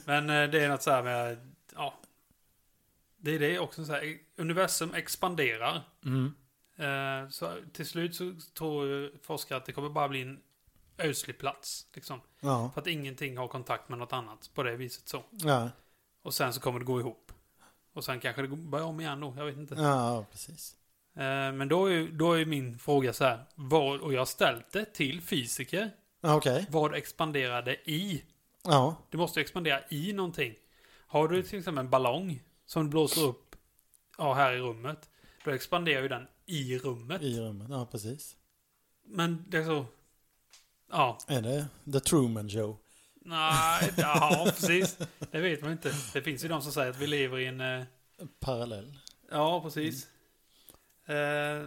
B: Men eh, det är något så här med... Ja. Det är det också. Så här, universum expanderar. Eh, så till slut så tror ju forskare att det kommer bara bli en ödslig plats. Liksom.
A: Ja.
B: För att ingenting har kontakt med något annat på det viset så.
A: Ja.
B: Och sen så kommer det gå ihop. Och sen kanske det går- börjar om igen då, jag vet inte.
A: ja, precis.
B: Eh, Men då är, ju- då är min fråga så här. Vad, och jag har ställt det till fysiker.
A: Ja, Okej.
B: Vad expanderar det i?
A: Ja.
B: Det måste ju expandera i någonting. Har du till exempel en ballong som du blåser upp ja, här i rummet. Då expanderar ju den i rummet.
A: I rummet. Ja, precis.
B: Men det är så... Ja,
A: Är det The Truman Show?
B: nej, ja, precis. Det vet man inte. Det finns ju de som säger att vi lever i en... eh,
A: Parallell.
B: Ja, precis. Eh,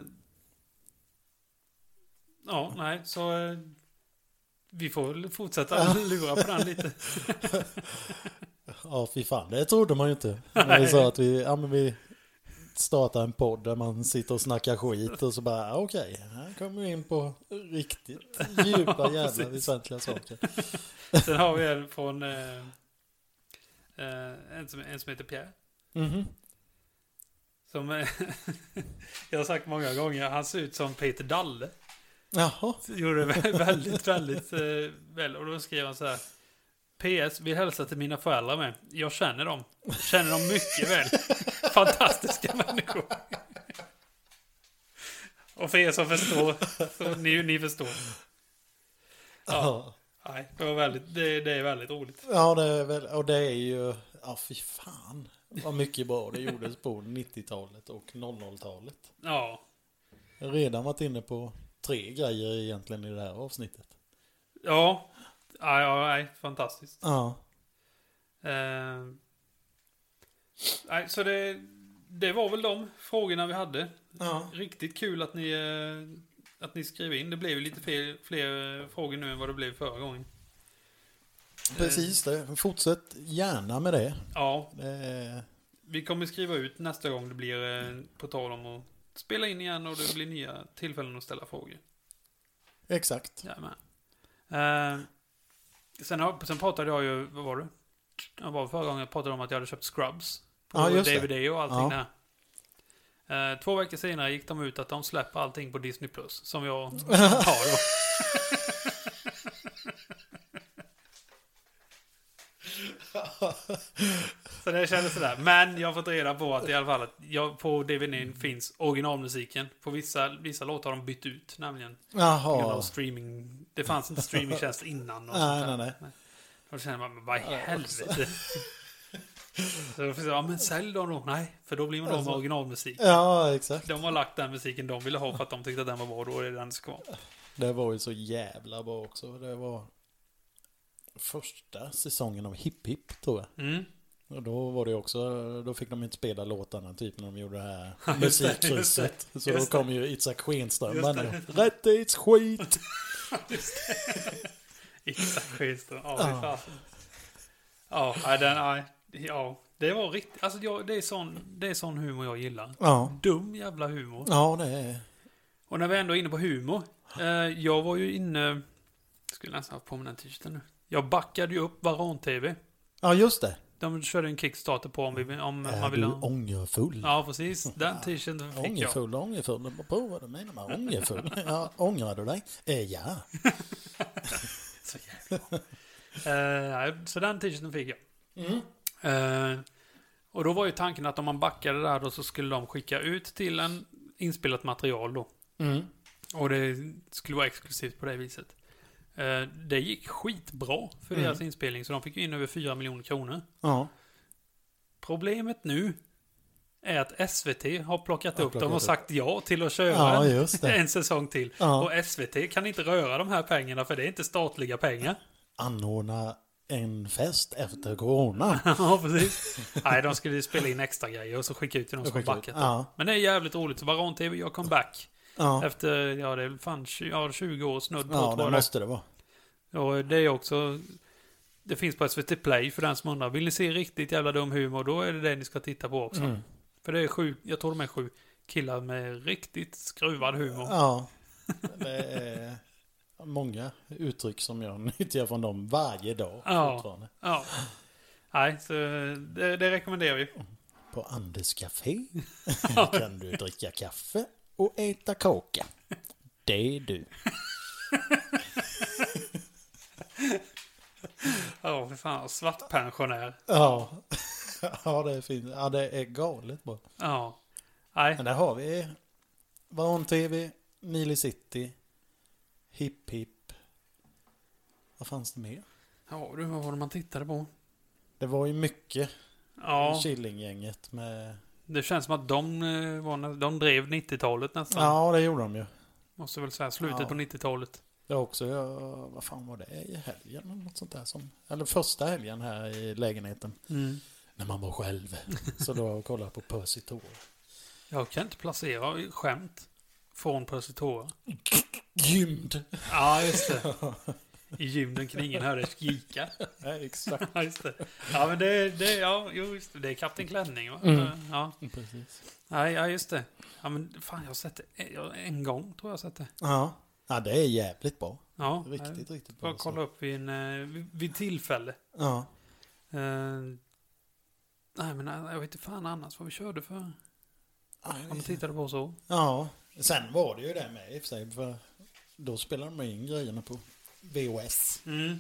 B: ja, nej, så eh, vi får väl fortsätta lura på den lite.
A: Ja, fy fan. Det trodde man ju inte. När vi sa att vi, ja, men vi startar en podd där man sitter och snackar skit och så bara, ja, okej, här kommer vi in på riktigt djupa jävla
B: precis.
A: väsentliga saker.
B: Sen har vi en från eh, eh, en, som, en som heter Pierre.
A: Mhm.
B: Som eh, jag har sagt många gånger, han ser ut som Peter Dalle.
A: Jaha.
B: Gjorde det väldigt, väldigt eh, väl. Och då skrev han så här. PS, vill hälsa till mina föräldrar med. Jag känner dem. Känner dem mycket väl. Fantastiska människor. Och för er som förstår, så ni, ni förstår. Ja,
A: Ja.
B: nej, det, var väldigt, det, det är väldigt roligt.
A: ja, det är väl, och det är ju, ja fy fan. Vad mycket bra det gjordes på 90-talet och 00-talet.
B: Ja,
A: Jag har redan varit inne på tre grejer egentligen i det här avsnittet.
B: ja, ja, ja nej, fantastiskt.
A: Ja.
B: Eh, nej, så det, det var väl de frågorna vi hade.
A: Ja.
B: Riktigt kul att ni, eh, att ni skrev in. Det blev ju lite fel, fler eh, frågor nu än vad det blev förra gången.
A: Precis det. Fortsätt gärna med det.
B: Ja,
A: Det är-
B: vi kommer skriva ut nästa gång det blir eh, på tal om att spela in igen och det blir nya tillfällen att ställa frågor.
A: Exakt.
B: Jajamän. Eh, sen, har- sen pratade jag ju, vad var det? Jag var förra gången jag pratade om att jag hade köpt Scrubs. På
A: Ja, just det.
B: DVD och allting
A: Ja.
B: där. Eh, två veckor senare gick de ut att de släpper allting på Disney+. Plus Som jag har då. Så det kändes sådär. Men jag har fått reda på att i alla fall att jag, på DVDn finns originalmusiken. På vissa, vissa låtar har de bytt ut nämligen. På grund av
A: Jaha.
B: streaming. Det fanns inte streamingtjänst innan. Och
A: Nej, alltså.
B: sånt där.
A: nej,
B: Och då känner man, men vad i helvete? Så jag försökte, ja men sälj dem då. Nej, för då blir man av med
A: Alltså.
B: originalmusik.
A: Ja, exakt.
B: De har lagt den musiken de ville ha för att de tyckte att den var bra. Då är det den som ska vara.
A: Det var ju så jävla bra också. Det var första säsongen av Hipp Hipp tror jag.
B: Mm.
A: Och då var det ju också, då fick de inte spela låtarna typ när de gjorde det här
B: just det, just det,
A: musikkrysset. Så då
B: just det.
A: kom ju Isak Skenström
B: Just
A: bara
B: det.
A: nu. Rättighetsskit!
B: Exakt, schysst. Ja, fy fasen. Ja, nej, den, nej. Ja, det var riktigt. Alltså, jag, det, är sån, det är sån humor jag gillar.
A: Ja.
B: Dum jävla humor.
A: Ja, det är...
B: Och när vi ändå är inne på humor. Eh, jag var ju inne... Skulle nästan ha på mig den t-shirten nu. Jag backade ju upp Varan-TV.
A: Ja, just det.
B: De körde en kickstarter på om, vi, om
A: Är
B: man vill
A: du
B: ha...
A: ångerfull?
B: Ja, precis. Den t-shirten fick jag.
A: Ångerfull, ångerfull. Jag bara, På vad du menar med ångerfull? Ja, ångrar du dig? Eh, ja.
B: Så jävla bra. Eh, Så den t-shirten fick jag.
A: Mm.
B: Eh, och då var ju tanken att om man backade där då så skulle de skicka ut till en inspelat material då.
A: Mm.
B: Och det skulle vara exklusivt på det viset. Eh, det gick skitbra för
A: Mm.
B: deras inspelning så de fick ju in över 4 miljoner kronor.
A: Ja.
B: Problemet nu är att SVT har plockat
A: Har
B: upp dem
A: plockat
B: och
A: upp.
B: sagt ja till att köra
A: ja,
B: en-
A: just det.
B: en säsong till.
A: Ja.
B: Och SVT kan inte röra de här pengarna för det är inte statliga pengar.
A: Anordna en fest efter corona.
B: Ja, precis. Nej, de skulle spela in extra grejer och så skicka ut till de som
A: Skickar ut.
B: backat.
A: Ja.
B: Men det är jävligt roligt. Så Baron-TV gör comeback.
A: Ja,
B: Efter, ja det är väl fan 20, ja, 20 år snudd på
A: ja
B: tror
A: det
B: jag.
A: måste det vara.
B: Och det är också... Det finns på SVT Play för den som undrar. Vill ni se riktigt jävla dum humor, då är det det ni ska titta på också.
A: Mm.
B: För det är sju, jag tror de är sju killar med riktigt skruvad humor.
A: Ja. Det är många uttryck som jag nyttjar från dem varje dag
B: Ja.
A: fortfarande.
B: Ja. Nej, så det, det rekommenderar vi.
A: På Anders Café kan du dricka kaffe och äta kaka. Det är du.
B: Ja, för fan. Svartpensionär.
A: Ja. Ja, det är fint. Ja, det är galet bra.
B: Ja. Nej.
A: Men där har vi Varon TV, Nile City, Hipp Hipp. Vad fanns det mer?
B: Ja, du, vad var det man tittade på?
A: Det var ju mycket
B: Ja,
A: Killinggänget med...
B: det känns som att de, eh, var, nä- de drev 90-talet nästan.
A: Ja, det gjorde de ju.
B: Måste väl säga slutet
A: Ja.
B: på 90-talet.
A: Jag också, jag, vad fan var det i helgen eller något sånt där som... Eller första helgen här i lägenheten. När man var själv. Så då kollade jag på Percy Tor.
B: Jag kan inte placera skämt från Persitora.
A: Gymd!
B: Ja, just det. I gymden kan ingen höra dig skrika.
A: Ja, exakt.
B: Ja, just det. Ja, men det, det, ja, jo, just det. det är Kapten Klänning, va?
A: Mm.
B: Ja.
A: Precis.
B: Nej, ja, just det. Ja, men fan, jag har sett det en- en gång, tror jag har sett det.
A: Ja. Ja, det är jävligt bra.
B: Ja,
A: Riktigt, riktigt bra.
B: Får kolla upp vid, en, eh, vid- vid tillfälle.
A: Ja.
B: Eh, nej, men eh, jag vet inte fan annars vad vi körde för. Om vi tittade på så.
A: Ja, sen var det ju det med i och för sig. För då spelade de in grejerna på VOS.
B: Mm.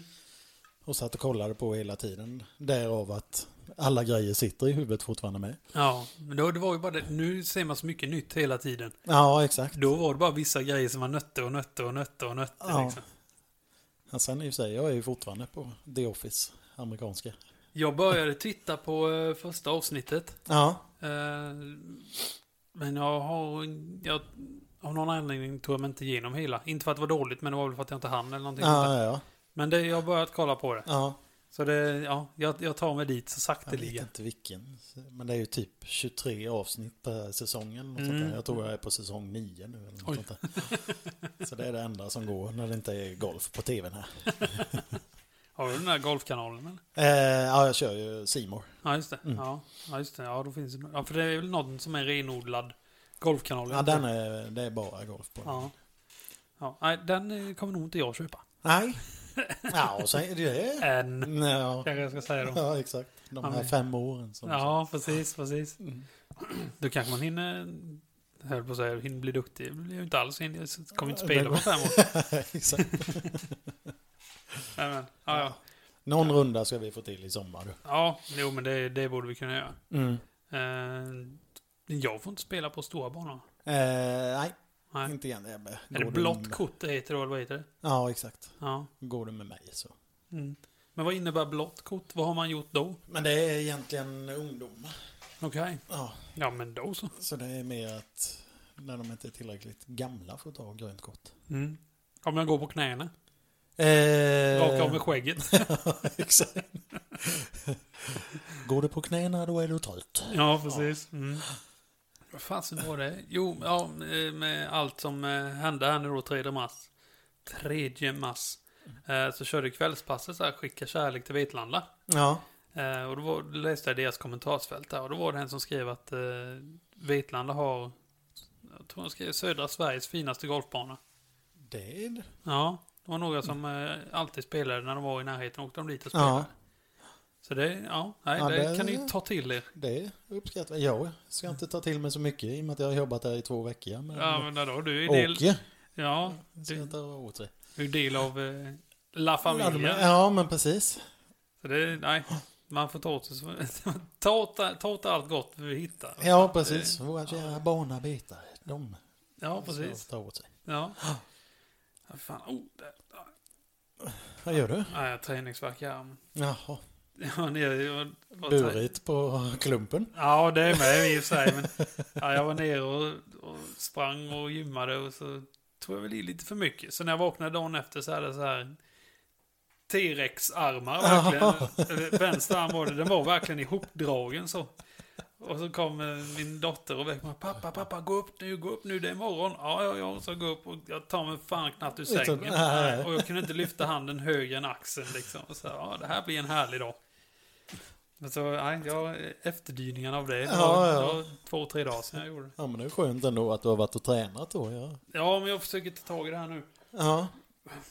A: Och satt och kollade på hela tiden. Därav att alla grejer sitter i huvudet fortfarande med.
B: Ja, men då, det var ju bara det. Nu ser man så mycket nytt hela tiden.
A: Ja, exakt.
B: Då var det bara vissa grejer som man nötte och nötte och nötte och nötte.
A: Ja.
B: Liksom.
A: Ja, sen i och för sig, jag är ju fortfarande på The Office, amerikanska.
B: Jag började titta på eh, första avsnittet.
A: Ja,
B: Eh, men jag har... Jag, av någon anledning tog jag mig inte igenom hela. Inte för att det var dåligt, men det var väl för att jag inte hann eller någonting. sånt där.
A: ja, ja.
B: Men det, jag har börjat kolla på det.
A: ja.
B: Så det, ja, jag, jag tar mig dit så
A: Jag vet
B: sakteliga.
A: inte vilken. Men det är ju typ 23 avsnitt per säsong. Eller något
B: Mm.
A: sånt där. Jag tror jag är på säsong 9 nu. Eller något
B: Oj.
A: sånt där. Så det är det enda som går när det inte är golf på tvn här.
B: Har du den där golfkanalen eller?
A: Eh, ja, jag kör ju Simor.
B: Ja, just det.
A: Mm.
B: Ja, ja, just det. Ja, då finns det. Ja, för det är väl någon som är renodlad golfkanal.
A: Ja, den är, det är bara golf på den.
B: Ja. ja. Nej, den eh, kommer nog inte jag köpa.
A: Nej. Ja, och sen är det ju...
B: Än,
A: Ja.
B: kanske jag ska säga då.
A: ja, exakt. De
B: Ja,
A: här
B: men-
A: fem åren. Som
B: Ja, precis, precis.
A: Mm.
B: Då kanske man hinner, jag höll på att säga, hinner bli duktig. Det blir ju inte alls, hinner, så kommer inte spela på fem år.
A: exakt.
B: Nej, men, ja, ja.
A: Någon runda ska vi få till i sommar. du.
B: ja, jo men det, det borde vi kunna göra.
A: Mm.
B: Eh, jag får inte spela på stora banor.
A: Eh, nej,
B: Nej.
A: inte igen. Jag bara-
B: Mm. Är det
A: går du
B: blått
A: med-
B: kort det heter då, eller vad heter det?
A: Ja, exakt.
B: Ja.
A: Går du med mig så.
B: Mm. Men vad innebär blått kort? Vad har man gjort då?
A: Men det är egentligen ungdomar.
B: Okej.
A: Ja,
B: Ja, men då så.
A: så det är mer att när de inte är tillräckligt gamla får ta grönt kort.
B: Mm. Om jag går på knäna.
A: Eh,
B: Raka av med skägget.
A: Exakt. Går du på knäna då är du trött.
B: Ja, precis. Mm. Vad fasen var det? Jo, ja, med allt som eh, hände här nu då, 3 mars. 3 mars. Eh, Så körde kvällspasset så här, skicka kärlek till Vitlanda.
A: Ja.
B: Eh, Och då, var, då läste jag deras kommentarsfält där och då var det en som skrev att eh, Vitlanda har, jag tror han skrev södra Sveriges finaste golfbana.
A: Det är det.
B: Ja, det var några som eh, alltid spelade när de var i närheten och åkte de dit och spelade.
A: Ja.
B: Så det, ja, nej,
A: Ja,
B: det
A: det-
B: kan ni ju ta till er.
A: Det uppskattar jag. Jag ska inte ta till mig så mycket i och med att jag har jobbat där i två veckor. Men,
B: Ja, men där då, du är del,
A: Åke
B: ja,
A: ska
B: du,
A: jag ta åt sig.
B: du är del av eh, La Familia.
A: Ja, men precis.
B: Så det, nej, man får ta åt sig, så- ta åt, ta åt allt gott vi hittar. Eh,
A: Ja, precis. Våra kära banarbetare. De
B: Ja,
A: ska
B: precis.
A: ta åt sig.
B: Ja. Ja, Fan, oh, där.
A: Vad gör du?
B: Nej, jag har träningsvärk i armen.
A: Jaha.
B: Ja, nere, jag var, var
A: Burit på klumpen.
B: Ja, det är med i och för sig. Men, ja, jag var nere och, och sprang och gymmade och så tog jag väl i lite för mycket. Så när jag vaknade dagen efter så hade jag så här T-Rex-armar verkligen. Eller, Vänster arm var det. Den var verkligen ihopdragen så. Och så kom eh, min dotter och väckte mig. Pappa, pappa, gå upp nu, gå upp nu, det är imorgon. Ja, ja, ja. Så gå upp och jag tar mig fan knappt ur
A: Utan-
B: sängen.
A: nej.
B: Och jag kunde inte lyfta handen högre än axeln liksom. Och så, här, ja, det här blir en härlig dag. Men så, nej, jag, efterdyningarna av det. Det
A: Ja,
B: var,
A: ja.
B: det var två, tre dagar sedan jag gjorde det.
A: Ja, men det är skönt ändå att du har varit och tränat då. Ja.
B: Ja, men jag försöker ta tag i det här nu.
A: ja.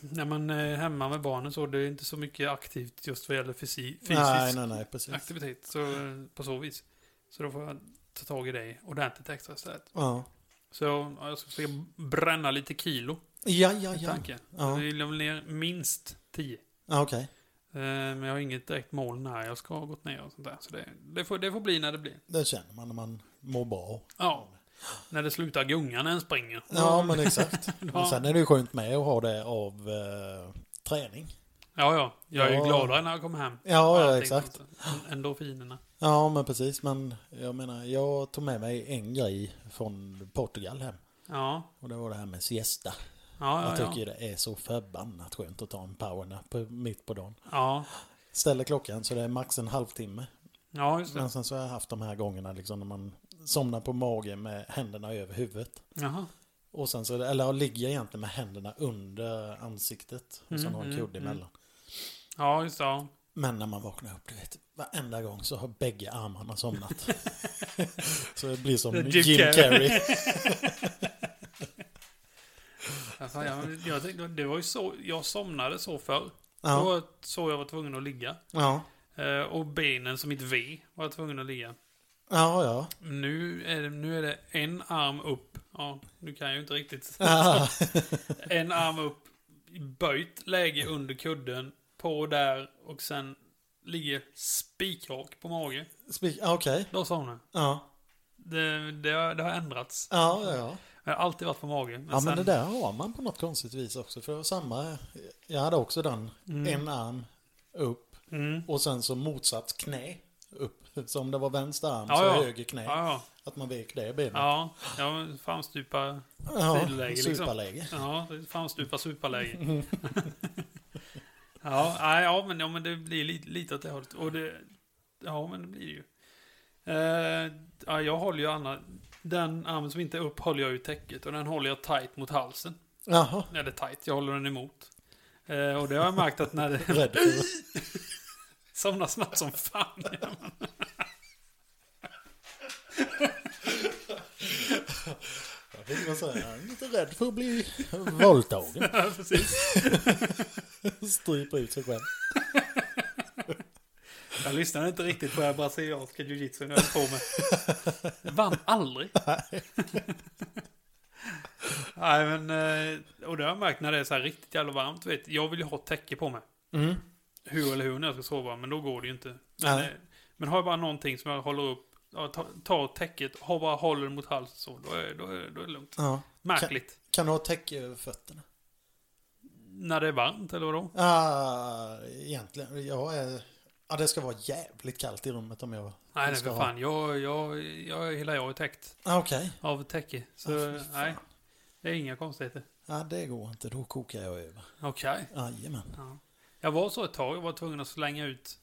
B: När man är hemma med barnen så, det är inte så mycket aktivt just vad gäller fysi, fysisk
A: Nej, nej, nej, precis.
B: aktivitet. Så, eh, på så vis. Så då får jag ta tag i dig ordentligt extra istället.
A: Ja.
B: Så ja, jag ska försöka bränna lite kilo,
A: Ja, ja,
B: i
A: ja.
B: tanken.
A: Ja.
B: Jag vill väl ner minst 10.
A: ja Okej.
B: Eh, Men jag har inget direkt mål när jag ska ha gått ner och sånt där. Så det, det, får, det får bli när det blir.
A: Det känner man när man mår bra.
B: Ja. När det slutar gunga när en springer.
A: Ja, men exakt. Men
B: Ja.
A: sen är det ju skönt med att ha det av eh, träning.
B: Ja, ja. Jag är ju
A: Ja.
B: gladare när jag kommer hem.
A: Ja, ja,
B: Allting
A: exakt.
B: sånt där. Endorfinerna.
A: Ja, men precis. Men jag menar, jag tog med mig en grej från Portugal hem.
B: Ja,
A: Och det var det här med siesta.
B: ja,
A: jag
B: Ah, ja.
A: tycker
B: Ja,
A: ju det är så förbannat skönt att ta en powernap på- mitt på dagen.
B: ja.
A: Ställer klockan så det är max en halvtimme.
B: ja just
A: Men
B: det.
A: sen så har jag haft de här gångerna liksom när man somnar på magen med händerna över huvudet.
B: Jaha.
A: Och sen så, eller jag ligger egentligen med händerna under ansiktet. Och sen
B: Mm,
A: har en
B: mm,
A: kudde
B: mm.
A: emellan.
B: Ja, just det. Ja.
A: Men när man vaknar upp, du vet, varenda gång så har bägge armarna somnat. så det blir som
B: Jim
A: Jim,
B: Carrey.
A: Carrey.
B: Ja, fan, Jag, jag tänkte, det var ju så, jag somnade så förr. Det
A: Ja,
B: var så jag var tvungen att ligga.
A: ja,
B: Eh, Och benen som mitt V var jag tvungen att ligga.
A: ja, ja.
B: Nu är det, nu är det en arm upp. Ja, nu kan jag ju inte riktigt.
A: Ah,
B: En arm upp, i böjt läge under kudden, på där och sen ligger spikrak på mage.
A: spik- ah, Okej,
B: Då somnar jag.
A: ja,
B: Det, det, har- det har ändrats.
A: ja, ja. ja.
B: Jag har alltid varit på magen. Men
A: Ja,
B: sen,
A: men det där har man på något konstigt vis också. För det var samma, jag hade också den, en arm upp
B: Mm.
A: och sen så motsatt knä upp. Så om det var vänster arm
B: Ja,
A: så
B: ja.
A: höger knä.
B: Ja,
A: Att man vek det benet.
B: ja. ja men framstupa... sidoläge liksom.
A: superläge.
B: Ja, det är framstupa superläge. ja, nej, ja, men, ja, men det blir lite, lite åt det hållet. Och det, ja, men det blir det ju. Eh, ja, jag håller ju Anna... Den armen som inte är upp håller jag ju i täcket och den håller jag tight mot halsen.
A: Jaha,
B: Eller tight, jag håller den emot. Eh, och det har jag märkt att när det...
A: rädd.
B: Somnar snabbt som fan.
A: Jag fick väl säga, jag är lite rädd för att bli våldtagen.
B: Ja, precis.
A: Stryper ut sig själv.
B: Jag lyssnade inte riktigt på det här brasilianska jiu-jitsu när jag höll på med. Jag Vann aldrig. Nej, men... eh, Och det har jag märkt när det är så här riktigt jävla varmt. Vet, jag vill ju ha täcke på mig.
A: Mm.
B: Hur eller hur när jag ska sova, men då går det ju inte. Men,
A: Nej.
B: eh, men har jag bara någonting som jag håller upp, ja, ta- tar täcket, har bara håller mot halsen så, då är, då, är, då är det lugnt.
A: Ja.
B: Märkligt.
A: Kan du ha täcke över fötterna?
B: när det är varmt, eller vadå?
A: Ah, egentligen, jag är... Ja, det ska vara jävligt kallt i rummet om jag
B: Nej, nej,
A: ska
B: för
A: ha-
B: fan. Jag, jag, jag, hela jag är täckt
A: Ah, Okej.
B: av täcke. Så,
A: Ah, fy fan.
B: nej. Det är inga konstigheter.
A: Ja, det går inte. Då kokar jag över.
B: Okej.
A: Jajamän.
B: Ja. Jag var så ett tag. Jag var tvungen att slänga ut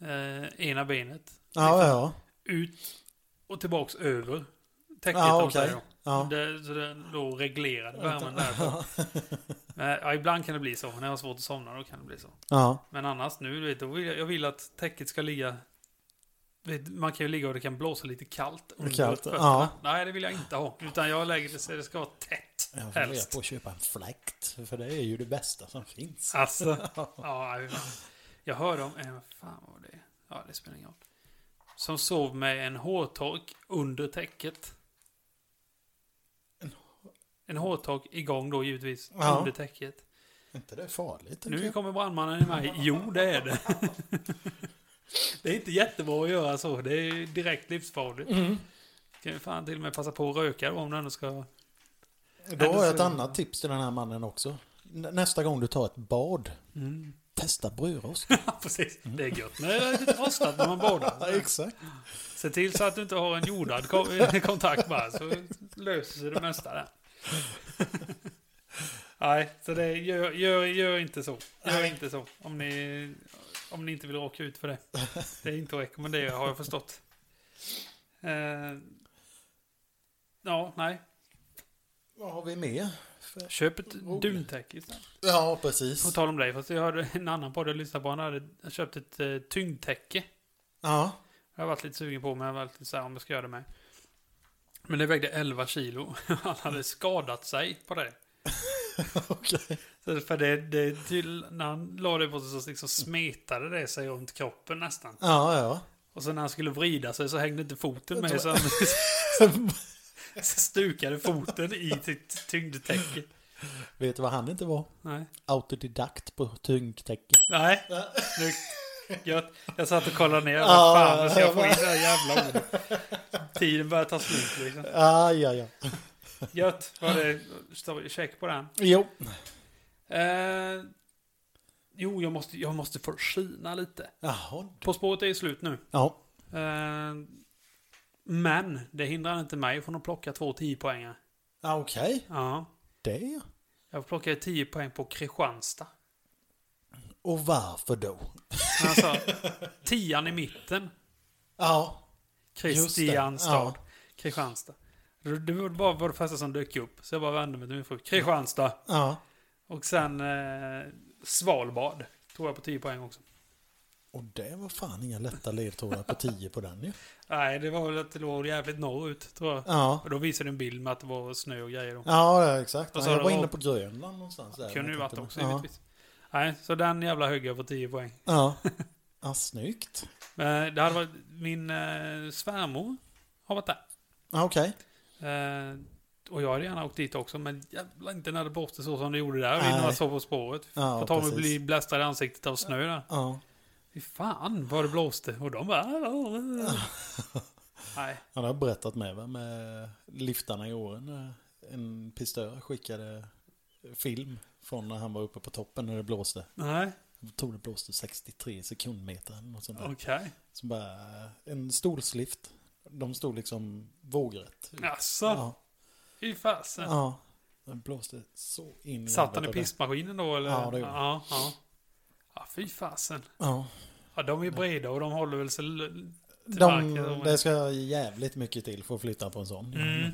B: eh, ena benet.
A: Ja, ja,
B: Ut och tillbaks över täcket.
A: Ja,
B: om man
A: okej.
B: säger.
A: ja.
B: Det, så det då reglerade värmen där. Men, ja, ibland kan det bli så. När jag har svårt att somna då kan det bli så.
A: Ja,
B: Men annars nu, du vet, då vill jag, jag vill att täcket ska ligga... Vet, man kan ju ligga och det kan blåsa lite kallt under
A: Kallt,
B: fötterna.
A: ja.
B: Nej, det vill jag inte ha. Utan jag lägger det så det ska vara tätt.
A: jag funderar
B: helst.
A: på att köpa en fläkt. För det är ju det bästa som finns.
B: Alltså, ja, jag vet inte. jag hörde om en, fan vad var det är. Ja, det spelar ingen roll. Som sov med en hårtork under täcket. En hårtork igång då givetvis,
A: Ja.
B: under täcket.
A: inte det är farligt? tycker
B: Nu
A: jag.
B: kommer brandmannen i mig. Jo, det är det. Det är inte jättebra att göra så. Det är direkt livsfarligt. Kan ju fan till och med passa på att röka då, om du ändå ska...
A: Då har jag ett
B: så-
A: annat tips till den här mannen också. N- Nästa gång du tar ett bad, testa brödrost.
B: Mm. Ja, precis. Det är gött med lite rostat när man badar.
A: Exakt.
B: Se till så att du inte har en jordad ko- kontakt bara, så löser sig det mesta där. Nej, så det gör, gör, gör inte så. Gör
A: Nej.
B: inte så. Om ni, om ni inte vill råka ut för det. Det är inte att rekommendera har jag förstått. Eh, ja, nej.
A: Vad har vi mer? För-
B: Köp ett duntäcke istället.
A: Ja,
B: På
A: precis.
B: tal om dig, fast jag hörde en annan podd jag lyssnade på. Han hade köpt ett eh, tyngdtäcke.
A: Ja,
B: Jag har varit lite sugen på, men jag har varit lite så här om jag ska göra det med. Men det vägde 11 kilo. Han hade skadat sig på det.
A: okej.
B: Så För det, det till, när han la det på sig så liksom smetade det sig runt kroppen nästan.
A: Ja, ja.
B: Och sen när han skulle vrida sig så hängde inte foten med. Så han så stukade foten i sitt tyngdtäcke.
A: Vet du vad han inte var?
B: Nej.
A: Autodidakt på tyngdtäcke.
B: Nej. Snyggt. Gött. Jag satt och kollade ner. Vad
A: Ja,
B: fan, nu ska jag få
A: jag
B: in det här jävla ordet. Tiden börjar ta slut liksom.
A: Ah, ja, ja.
B: Gött. Var det står- check på den?
A: Jo.
B: Eh, jo, jag måste, jag måste få skina lite.
A: Jaha.
B: På spåret är ju slut nu.
A: Ja.
B: Eh, men det hindrar inte mig från att plocka två 10 poängar.
A: Ah, okej.
B: Ja.
A: Det ja.
B: Jag plockade 10 poäng på Kristianstad.
A: Och varför då?
B: Men Alltså, tian i mitten.
A: Ja.
B: Kristianstad.
A: Ja.
B: Kristianstad. Det det var bara var det första som dök upp. Så jag bara vände mig till min fru. Kristianstad.
A: Ja.
B: Och sen eh, Svalbard. Tog jag på 10 poäng också.
A: Och det var fan inga lätta ledtrådar på 10 på den ju.
B: Nej, det var väl att det låg jävligt norrut, tror jag.
A: Ja.
B: Och då visade en bild med att det var snö och grejer. Då.
A: Ja, ja, exakt.
B: Och
A: Ja,
B: så har
A: jag
B: det
A: var
B: varit-
A: inne på Grönland någonstans. Där
B: Kunde ju varit
A: tänkte-
B: också,
A: ja.
B: givetvis. Nej, så den jävla högg jag på 10 poäng.
A: Ja. Ja, snyggt.
B: Men det hade varit, min eh, svärmor har varit där.
A: Ja, okej.
B: Eh, och jag hade gärna åkt dit också, men jävlar inte när det blåste så som det gjorde där.
A: Nej.
B: Innan jag såg på spåret.
A: Ja,
B: Får ta mig
A: precis.
B: bli blästad i ansiktet av snö där.
A: Ja.
B: Fy fan vad det blåste. Och de bara... "Ah, Nej.
A: Han har berättat med va, med liftarna i åren. när En pistör skickade film från när han var uppe på toppen när det blåste.
B: Nej.
A: Jag tror det blåste 63 sekundmeter eller något sånt där.
B: Okej.
A: Så bara en stolslift. De stod liksom vågrätt.
B: Jaså? Fy fasen.
A: ja. Den blåste så in i
B: Satt han i
A: helvete.
B: pissmaskinen då eller?
A: Ja, det gjorde han.
B: ja, ja. ja, fy fasen.
A: Ja.
B: Ja, de är breda och de håller väl sig l- till
A: De,
B: marken. De,
A: det ska jävligt mycket till för att flytta på en sån.
B: mm.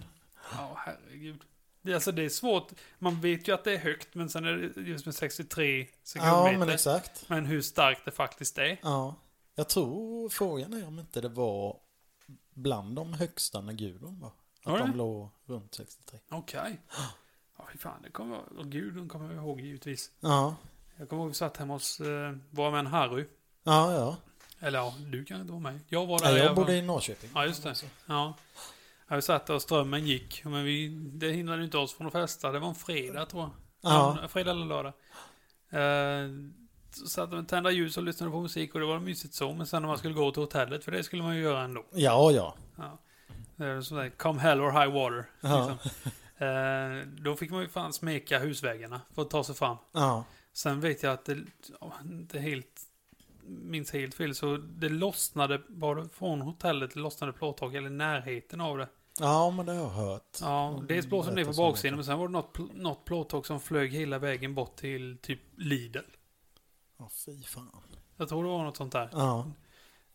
B: Ja, herregud. Det, alltså det är svårt. Man vet ju att det är högt, men sen är det just med 63 sekundmeter.
A: Ja, men
B: men,
A: exakt.
B: hur starkt det faktiskt är.
A: Ja. Jag tror frågan är om inte det var bland de högsta när Gudrun var.
B: Var
A: Att
B: det?
A: de låg runt 63.
B: Okej. Ja, fy fan. Det kommer jag... Åh, gud, de kommer jag ihåg givetvis.
A: Ja,
B: Jag kommer ihåg vi satt hemma hos eh, våra vän Harry.
A: ja, ja.
B: Eller ja, du kan inte vara med. Jag var där.
A: Nej,
B: i
A: jag
B: alla fall.
A: bodde i Norrköping.
B: Ja, just det. Ja. Ja, vi satt där och strömmen gick. Men vi, det hindrade ju inte oss från att festa. Det var en fredag tror jag.
A: Ja.
B: En Fredag eller lördag. Eh, så satt de och tända ljus och lyssnade på musik och det var mysigt så. Men sen när man skulle gå till hotellet, för det skulle man ju göra ändå.
A: Ja, ja.
B: Ja. Det är som där, come hell or high water.
A: Ja.
B: Liksom. Eh, då fick man ju fan smeka husvägarna för att ta sig fram.
A: Ja.
B: Sen vet jag att det, ja, inte helt, minns helt fel, så det lossnade bara från hotellet, lossnade plåttak eller närheten av det.
A: ja, men det har jag hört.
B: Ja,
A: Mm,
B: dels blåste det ner på
A: berätta så mycket.
B: baksidan, men sen var det något, pl- något plåttak som flög hela vägen bort till typ Lidl.
A: Ja, fy fan.
B: Jag tror det var något sånt där.
A: Ja,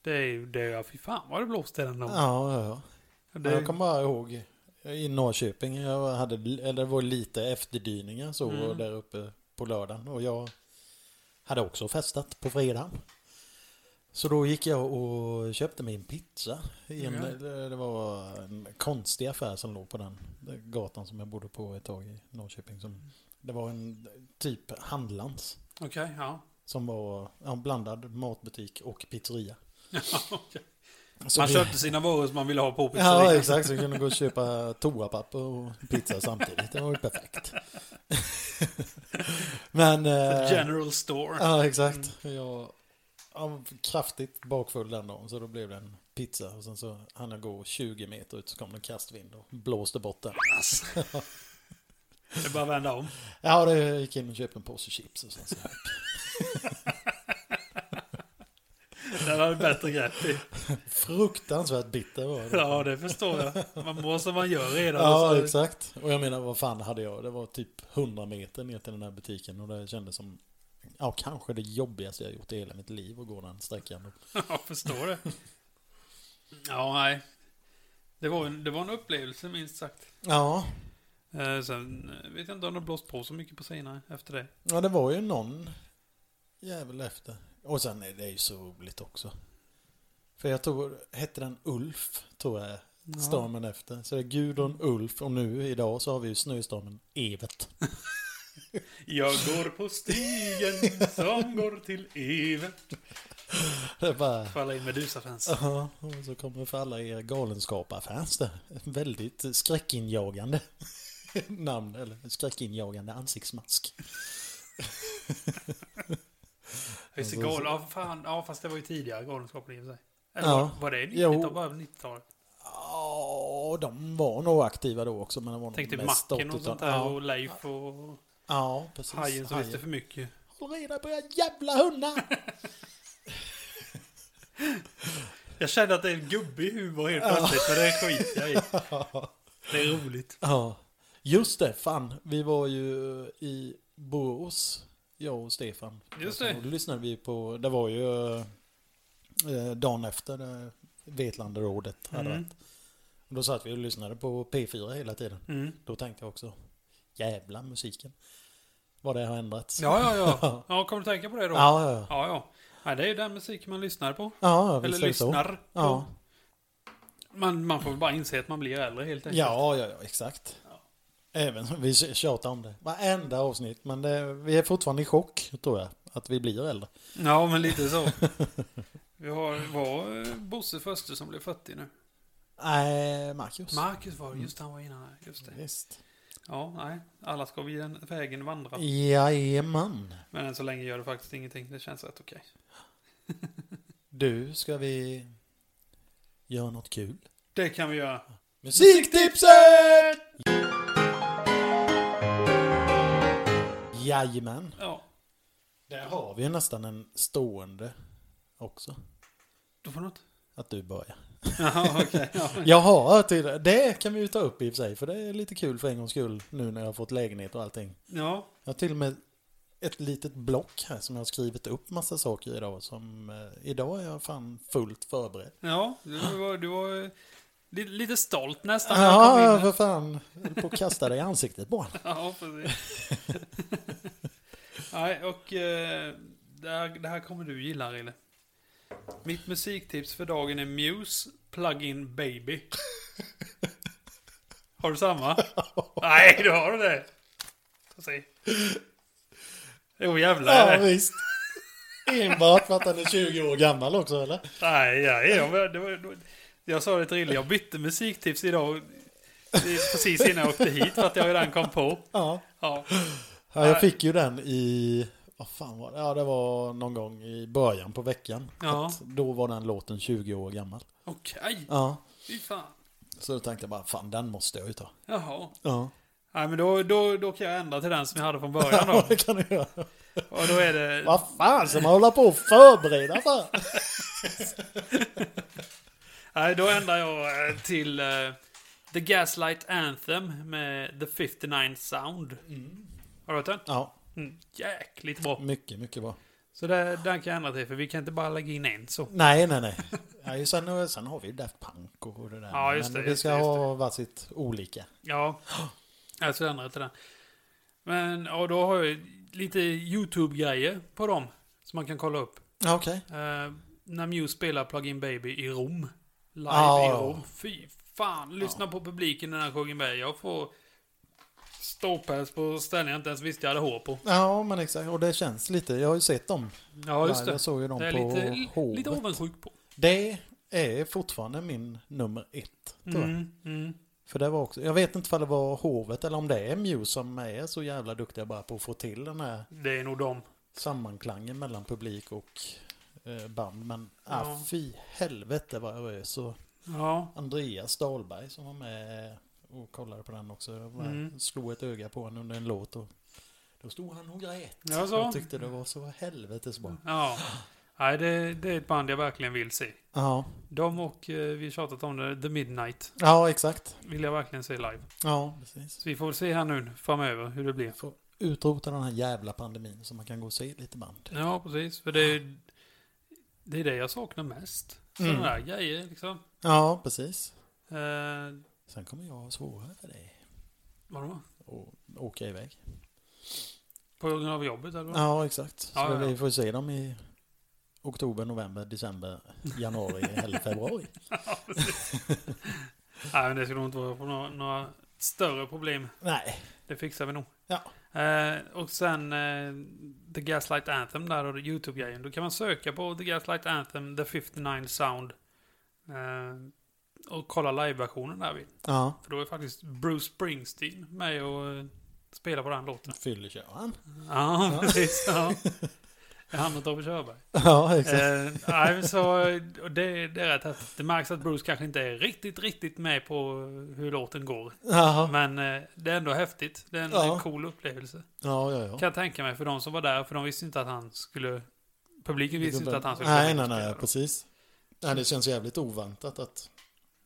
B: Det är ju, det är, ja, fy fan vad det blåste den dagen.
A: ja, ja. ja.
B: Det,
A: Jag kommer bara ihåg eh, i Norrköping, jag hade, eller det var lite efterdyningar så
B: Mm.
A: där uppe på lördagen. Och jag hade också festat på fredagen. Så då gick jag och köpte min pizza. I en,
B: Ja.
A: det, det var en konstig affär som låg på den gatan som jag bodde på ett tag i Norrköping. Som, det var en typ handlans
B: Okej, ja.
A: som var ja, blandad matbutik och pizzeria.
B: Okej.
A: Så
B: Man
A: vi-
B: köpte sina varor som man ville ha på pizzerian.
A: Ja, exakt. Så vi kunde gå och köpa toapapper och pizza samtidigt. Det var ju perfekt. Men... eh,
B: General store.
A: ja, exakt. Jag jag var kraftigt bakfull den dagen, så då blev det en pizza. Och sen så hann jag gå 20 meter ut, så kom det en kastvind och blåste bort den.
B: Alltså. Det är bara att vända om.
A: Ja, det gick in och köpte en påse chips och sen så...
B: Där hade du bättre grepp i.
A: Fruktansvärt bitter var det.
B: Ja, det förstår jag. Man mår som man gör redan. Alltså.
A: Ja,
B: Så-
A: exakt. Och jag menar, vad fan hade jag? Det var typ 100 meter ner till den här butiken och det kändes som, ja, kanske det jobbigaste jag gjort i hela mitt liv att gå den sträckan.
B: Jag förstår det. Ja, nej. Det var, en, det var en upplevelse, minst sagt.
A: Ja,
B: Eh, sen eh, vet jag inte om det har blåst på så mycket på senare efter det.
A: ja det var ju någon jävel efter. Och sen är det ju så roligt också. För jag tror, hette den Ulf, tror jag, stormen efter. Så det är Gudrun, Ulf och nu idag så har vi ju snöstormen Evet.
B: Jag går på stigen som går till Evert.
A: Det är bara...
B: Falla in Medusa-fans.
A: Ja, och så kommer för alla er galenskapar-fans där. Väldigt skräckinjagande namn, eller skräckinjagande ansiktsmask.
B: Jag är så galen. Ja, fan. Ja, fast det var ju tidigare Galenskapen i och för sig. Eller
A: Ja.
B: var det
A: Jo.
B: 90-talet? Bara 90-talet?
A: Ja, de var nog aktiva då också, men det var nog
B: Tänk typ
A: mest
B: Macken och
A: 80-tal.
B: sånt där.
A: Ja,
B: Och Leif och
A: ja, precis.
B: Hajen som visste för mycket.
A: Håll reda på era jävla hundar!
B: Jag kände att det är en gubbig humor helt plötsligt, men det skiter jag i. Det är roligt.
A: Ja, just det, fan. Vi var ju i Borås, jag och Stefan.
B: Just det.
A: Och då lyssnade vi på, det var ju eh, dagen efter eh, Vetlandarådet hade
B: Mm.
A: varit. Och Då satt vi och lyssnade på P4 hela tiden.
B: Mm.
A: Då tänkte jag också, jävla musiken. Vad det har ändrats.
B: Ja, ja, ja. Ja, kommer du tänka på det då?
A: ja, ja. ja.
B: ja. ja. Nej, det är ju den musik man lyssnar på.
A: ja visst
B: Eller
A: är det så.
B: lyssnar på.
A: Ja.
B: Man, man får väl bara inse att man blir äldre helt enkelt.
A: Ja, ja, ja, exakt.
B: Ja.
A: Även vi tjatar om det. Varenda avsnitt. Men det, vi är fortfarande i chock, tror jag. Att vi blir äldre.
B: Ja, men lite så. Vi har, var eh, Bosse Förster som blev 40 nu.
A: Nej, Marcus.
B: Marcus var det,
A: Mm.
B: just han var innan här. Just det.
A: Visst.
B: Ja, nej. Alla ska vi den vägen vandra.
A: Jajamän.
B: Men än så länge gör det faktiskt ingenting. Det känns rätt okej.
A: Du, ska vi göra något kul?
B: Det kan vi göra.
A: Musiktipset! Jajamän.
B: Ja.
A: Där har vi ju nästan en stående också.
B: Du får något.
A: Att du börjar.
B: Jaha, okej. Ja.
A: Mm. Jag har till det kan vi ju ta upp i och för sig, för det är lite kul för en gångs skull nu när jag har fått lägenhet och allting.
B: ja.
A: Jag har till och med ett litet block här som jag har skrivit upp massa saker idag som eh, idag är jag fan fullt förberedd.
B: Ja, du var, du var eh, li- lite stolt nästan när jag
A: Ja,
B: kom in.
A: för fan. Jag höll på att kasta dig i ansiktet på honom.
B: Ja, precis. Nej, och eh, det här, det här kommer du gilla, Rille. Mitt musiktips för dagen är Muse Plug-In Baby. Har du samma? Nej, du har du det. Får se. Jo, jävlar.
A: Ja,
B: är det.
A: visst. Enbart för att han är 20 år gammal också, eller?
B: Nej, nej, jag, var- det var, det var, jag sa det till Rille, jag bytte musiktips idag. Precis innan jag åkte hit för att jag redan kom på.
A: Ja.
B: Ja,
A: ja jag fick ju den i... Vad fan var det? Ja, det var någon gång i början på veckan.
B: Ja.
A: Att Då var den låten 20 år gammal.
B: okej.
A: Ja.
B: Fy fan.
A: Så då tänkte jag bara, fan den måste jag ju ta.
B: Jaha.
A: Ja.
B: Nej, men då, då, då kan jag ändra till den som jag hade från början då.
A: Ja, det kan du göra.
B: Och då är det...
A: Vad fan ska man hålla på och förbereda för?
B: Nej, då ändrar jag eh, till eh, The Gaslight Anthem med The 59 Sound.
A: Mm.
B: Har du hört den?
A: Ja,
B: Mm. Jäkligt bra.
A: mycket, mycket bra.
B: Så det, den kan jag ändra till, för vi kan inte bara lägga in en så.
A: Nej, nej, nej. Ja, ju sen, sen har vi ju Daft Punk och det där.
B: Ja, just det,
A: Men vi
B: just
A: ska
B: det, just
A: ha varsitt olika.
B: Ja, alltså den rätta den. Men ja, då har jag lite YouTube-grejer på dem som man kan kolla upp.
A: Ja, Okej.
B: Eh, när Muse spelar Plug-In Baby i Rom. Live
A: Ja.
B: i Rom. Fy fan, lyssna på publiken när han sjunger med. Jag får ståpäls på ställen jag inte ens visste jag hade hår på.
A: Ja, men exakt. Och det känns lite. Jag har ju sett dem.
B: Ja, just
A: Live.
B: det.
A: Jag såg ju dem
B: det är
A: på
B: lite,
A: Hovet.
B: lite avundsjuk på.
A: Det är fortfarande min nummer ett. Tror jag.
B: Mm, mm.
A: För det var också, jag vet inte om det var hovet eller om det är Muse som är så jävla duktiga bara på att få till den här
B: Det är nog dem.
A: sammanklangen mellan publik och eh, band. Men
B: Ja.
A: ah, fy helvete vad jag är så.
B: Ja.
A: Andreas Dahlberg som var med och kollade på den också. Jag bara
B: Mm.
A: Slog ett öga på honom under en låt och då stod han och grät.
B: Ja, så.
A: Jag tyckte det var så helvetes bra.
B: ja. Nej, det, det är ett band jag verkligen vill se.
A: Ja,
B: De och, eh, vi har tjatat om det, The Midnight.
A: ja exakt.
B: Vill jag verkligen se live.
A: Ja, precis.
B: Så vi får väl se här nu framöver hur det blir.
A: Får utrota den här jävla pandemin så man kan gå och se lite band.
B: Ja, precis. För det är, det, är det jag saknar mest. Sådana
A: Mm.
B: där grejer liksom.
A: Ja, precis.
B: Eh,
A: Sen kommer jag ha svårare för dig
B: vadå?
A: att åka iväg.
B: På grund av jobbet eller? vad?
A: Ja, exakt. Så
B: Ja, ja, ja.
A: vi får se dem i oktober, november, december, januari eller februari.
B: Nej, men det skulle nog inte vara på några, några större problem.
A: Nej.
B: Det fixar vi nog.
A: Ja.
B: Eh, och sen eh, The Gaslight Anthem där och YouTube-grejen. Då kan man söka på The Gaslight Anthem, The 59 Sound. Eh, och kolla live-versionen där vid.
A: Ja.
B: För då är faktiskt Bruce Springsteen med och eh, spelar på den låten.
A: Fyller kör han.
B: Ja, precis. Ja. Det är han och Tobbe Körberg.
A: Ja, exakt.
B: Eh, nej, men så, eh, och det, det är rätt häftigt. Det märks att Bruce kanske inte är riktigt, riktigt med på hur låten går.
A: Jaha.
B: Men eh, det är ändå häftigt. Det är en
A: Ja.
B: en cool upplevelse.
A: Ja, ja, ja.
B: Kan jag tänka mig för de som var där, för de visste inte att han skulle... Publiken visste inte att han skulle
A: Nej,
B: komma
A: nej,
B: och
A: nej,
B: spela.
A: precis. Nej, det känns jävligt oväntat att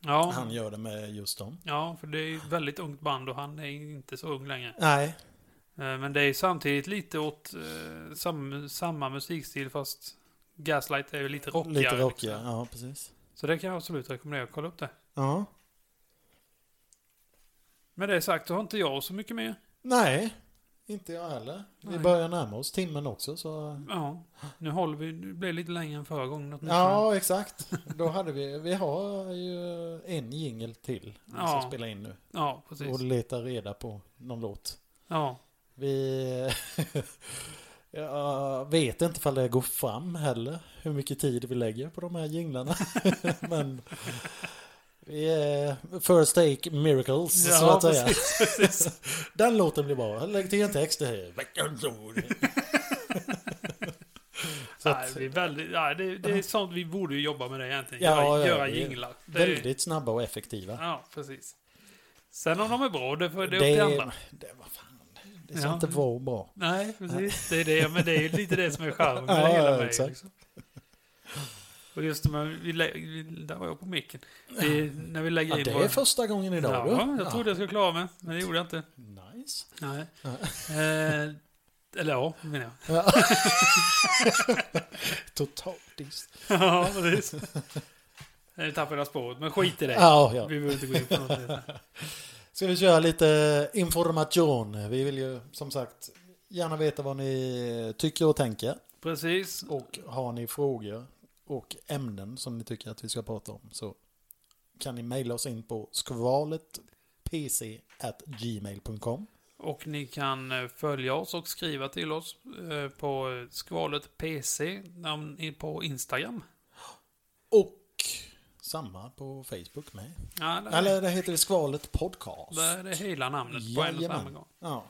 B: Ja,
A: han gör det med just dem.
B: ja, för det är ju ett väldigt ungt band och han är inte så ung längre.
A: Nej.
B: Eh, Men det är ju samtidigt lite åt eh, sam, samma musikstil fast Gaslight är ju lite rockigare.
A: Lite rockigare,
B: liksom.
A: ja, precis.
B: Så det kan jag absolut rekommendera. Kolla upp det.
A: Ja.
B: Med det sagt så har inte jag så mycket mer.
A: Nej, inte jag heller. Vi
B: Nej.
A: börjar närma oss timmen också, så...
B: Ja, nu håller vi. Det blev lite längre än förra gången åtminstone.
A: Ja, exakt. Då hade vi... Vi har ju en jingel till vi ska
B: Ja.
A: spela in nu.
B: ja
A: Och
B: precis.
A: leta reda på någon låt.
B: Ja.
A: Vi... Jag vet inte ifall det går fram heller. Hur mycket tid vi lägger på de här jinglarna. Men... Vi är first take miracles, så
B: Ja,
A: att säga. Den låten blir bra. Lägg till en text. Det här. Veckans ord. så att,
B: Nej, vi är väldigt, nej, det, det är sånt vi borde ju jobba med det egentligen.
A: Ja,
B: göra
A: ja,
B: göra
A: vi är
B: jinglar. Det är-
A: Väldigt snabba och effektiva.
B: Ja, precis. Sen om de är bra, det får det är upp
A: det,
B: till andra.
A: det var fan. Det ska
B: Ja.
A: inte vara bra.
B: Nej, precis. Det är det, men det är ju lite det som är charmen
A: Ja,
B: med
A: ja,
B: hela mig.
A: exakt.
B: Liksom. Och just när vi lä- vi- där var jag på micken. Det, är- när vi lägger
A: Ja,
B: in
A: det
B: våra-
A: är första gången idag
B: Ja,
A: du.
B: jag trodde jag skulle klara mig, men det gjorde jag inte.
A: Ja. Nice.
B: Nej.
A: Ja.
B: Eh, eller ja, menar jag.
A: Ja. Totalt dis.
B: ja, precis. Nu tappade jag spåret, men skit i det.
A: Ja, ja.
B: Vi behöver inte gå in på något. mer.
A: Ska vi köra lite information? Vi vill ju som sagt gärna veta vad ni tycker och tänker.
B: Precis.
A: Och har ni frågor och ämnen som ni tycker att vi ska prata om så kan ni mejla oss in på skvaletpc.gmail.com.
B: Och ni kan eh, följa oss och skriva till oss eh, på eh, skvalet PC om ni- på Instagram.
A: Och samma på Facebook med.
B: Ja, där,
A: Eller det heter Skvalet Podcast.
B: där är det hela namnet på en och samma
A: Jajamän.
B: gång.
A: Ja.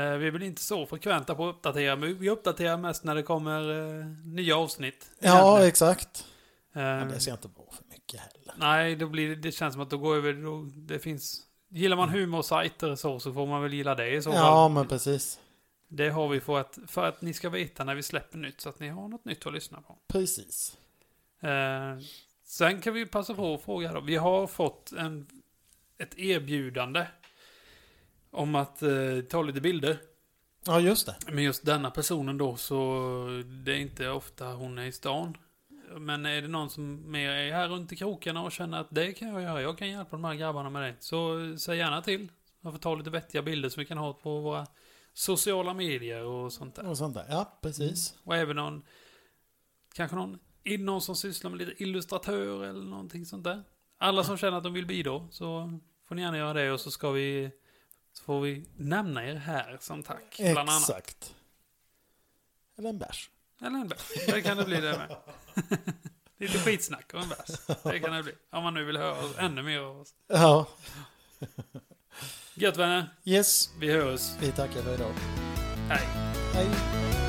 B: Eh, Vi är väl inte så frekventa på att uppdatera, men vi uppdaterar mest när det kommer eh, nya avsnitt.
A: ja,
B: Egentligen.
A: exakt.
B: Eh,
A: Men det ska inte vara för mycket heller.
B: Nej, då blir det, det känns som att då går över, då, det finns Gillar man humorsajter så, så får man väl gilla det i så
A: Ja,
B: fall.
A: men precis.
B: Det har vi för att, för att ni ska veta när vi släpper nytt, så att ni har något nytt att lyssna på.
A: Precis.
B: Eh, sen kan vi passa på att fråga då. Vi har fått en, ett erbjudande om att eh, ta lite bilder.
A: Ja, just det.
B: Men just denna personen då så det är inte ofta hon är i stan. Men är det någon som mer är här runt i krokarna och känner att det kan jag göra, jag kan hjälpa de här grabbarna med det. Så eh, säg gärna till. Jag får ta lite vettiga bilder som vi kan ha på våra sociala medier och sånt där.
A: Och sånt där. Ja, precis.
B: Och även någon, kanske någon, in- någon som sysslar med lite illustratör eller någonting sånt där. Alla som känner att de vill bidra så får ni gärna göra det och så ska vi, så får vi nämna er här som tack. Mm. Bland annat.
A: Exakt. Eller en bärs.
B: Eller en bärs. Det kan det bli det med. Lite skitsnack och en bärs. Det kan det bli. Om man nu vill höra oss, ännu mer av oss.
A: Ja,
B: Gött vänner,
A: yes.
B: vi hörs.
A: Vi tackar för idag.
B: Hej.
A: Hej.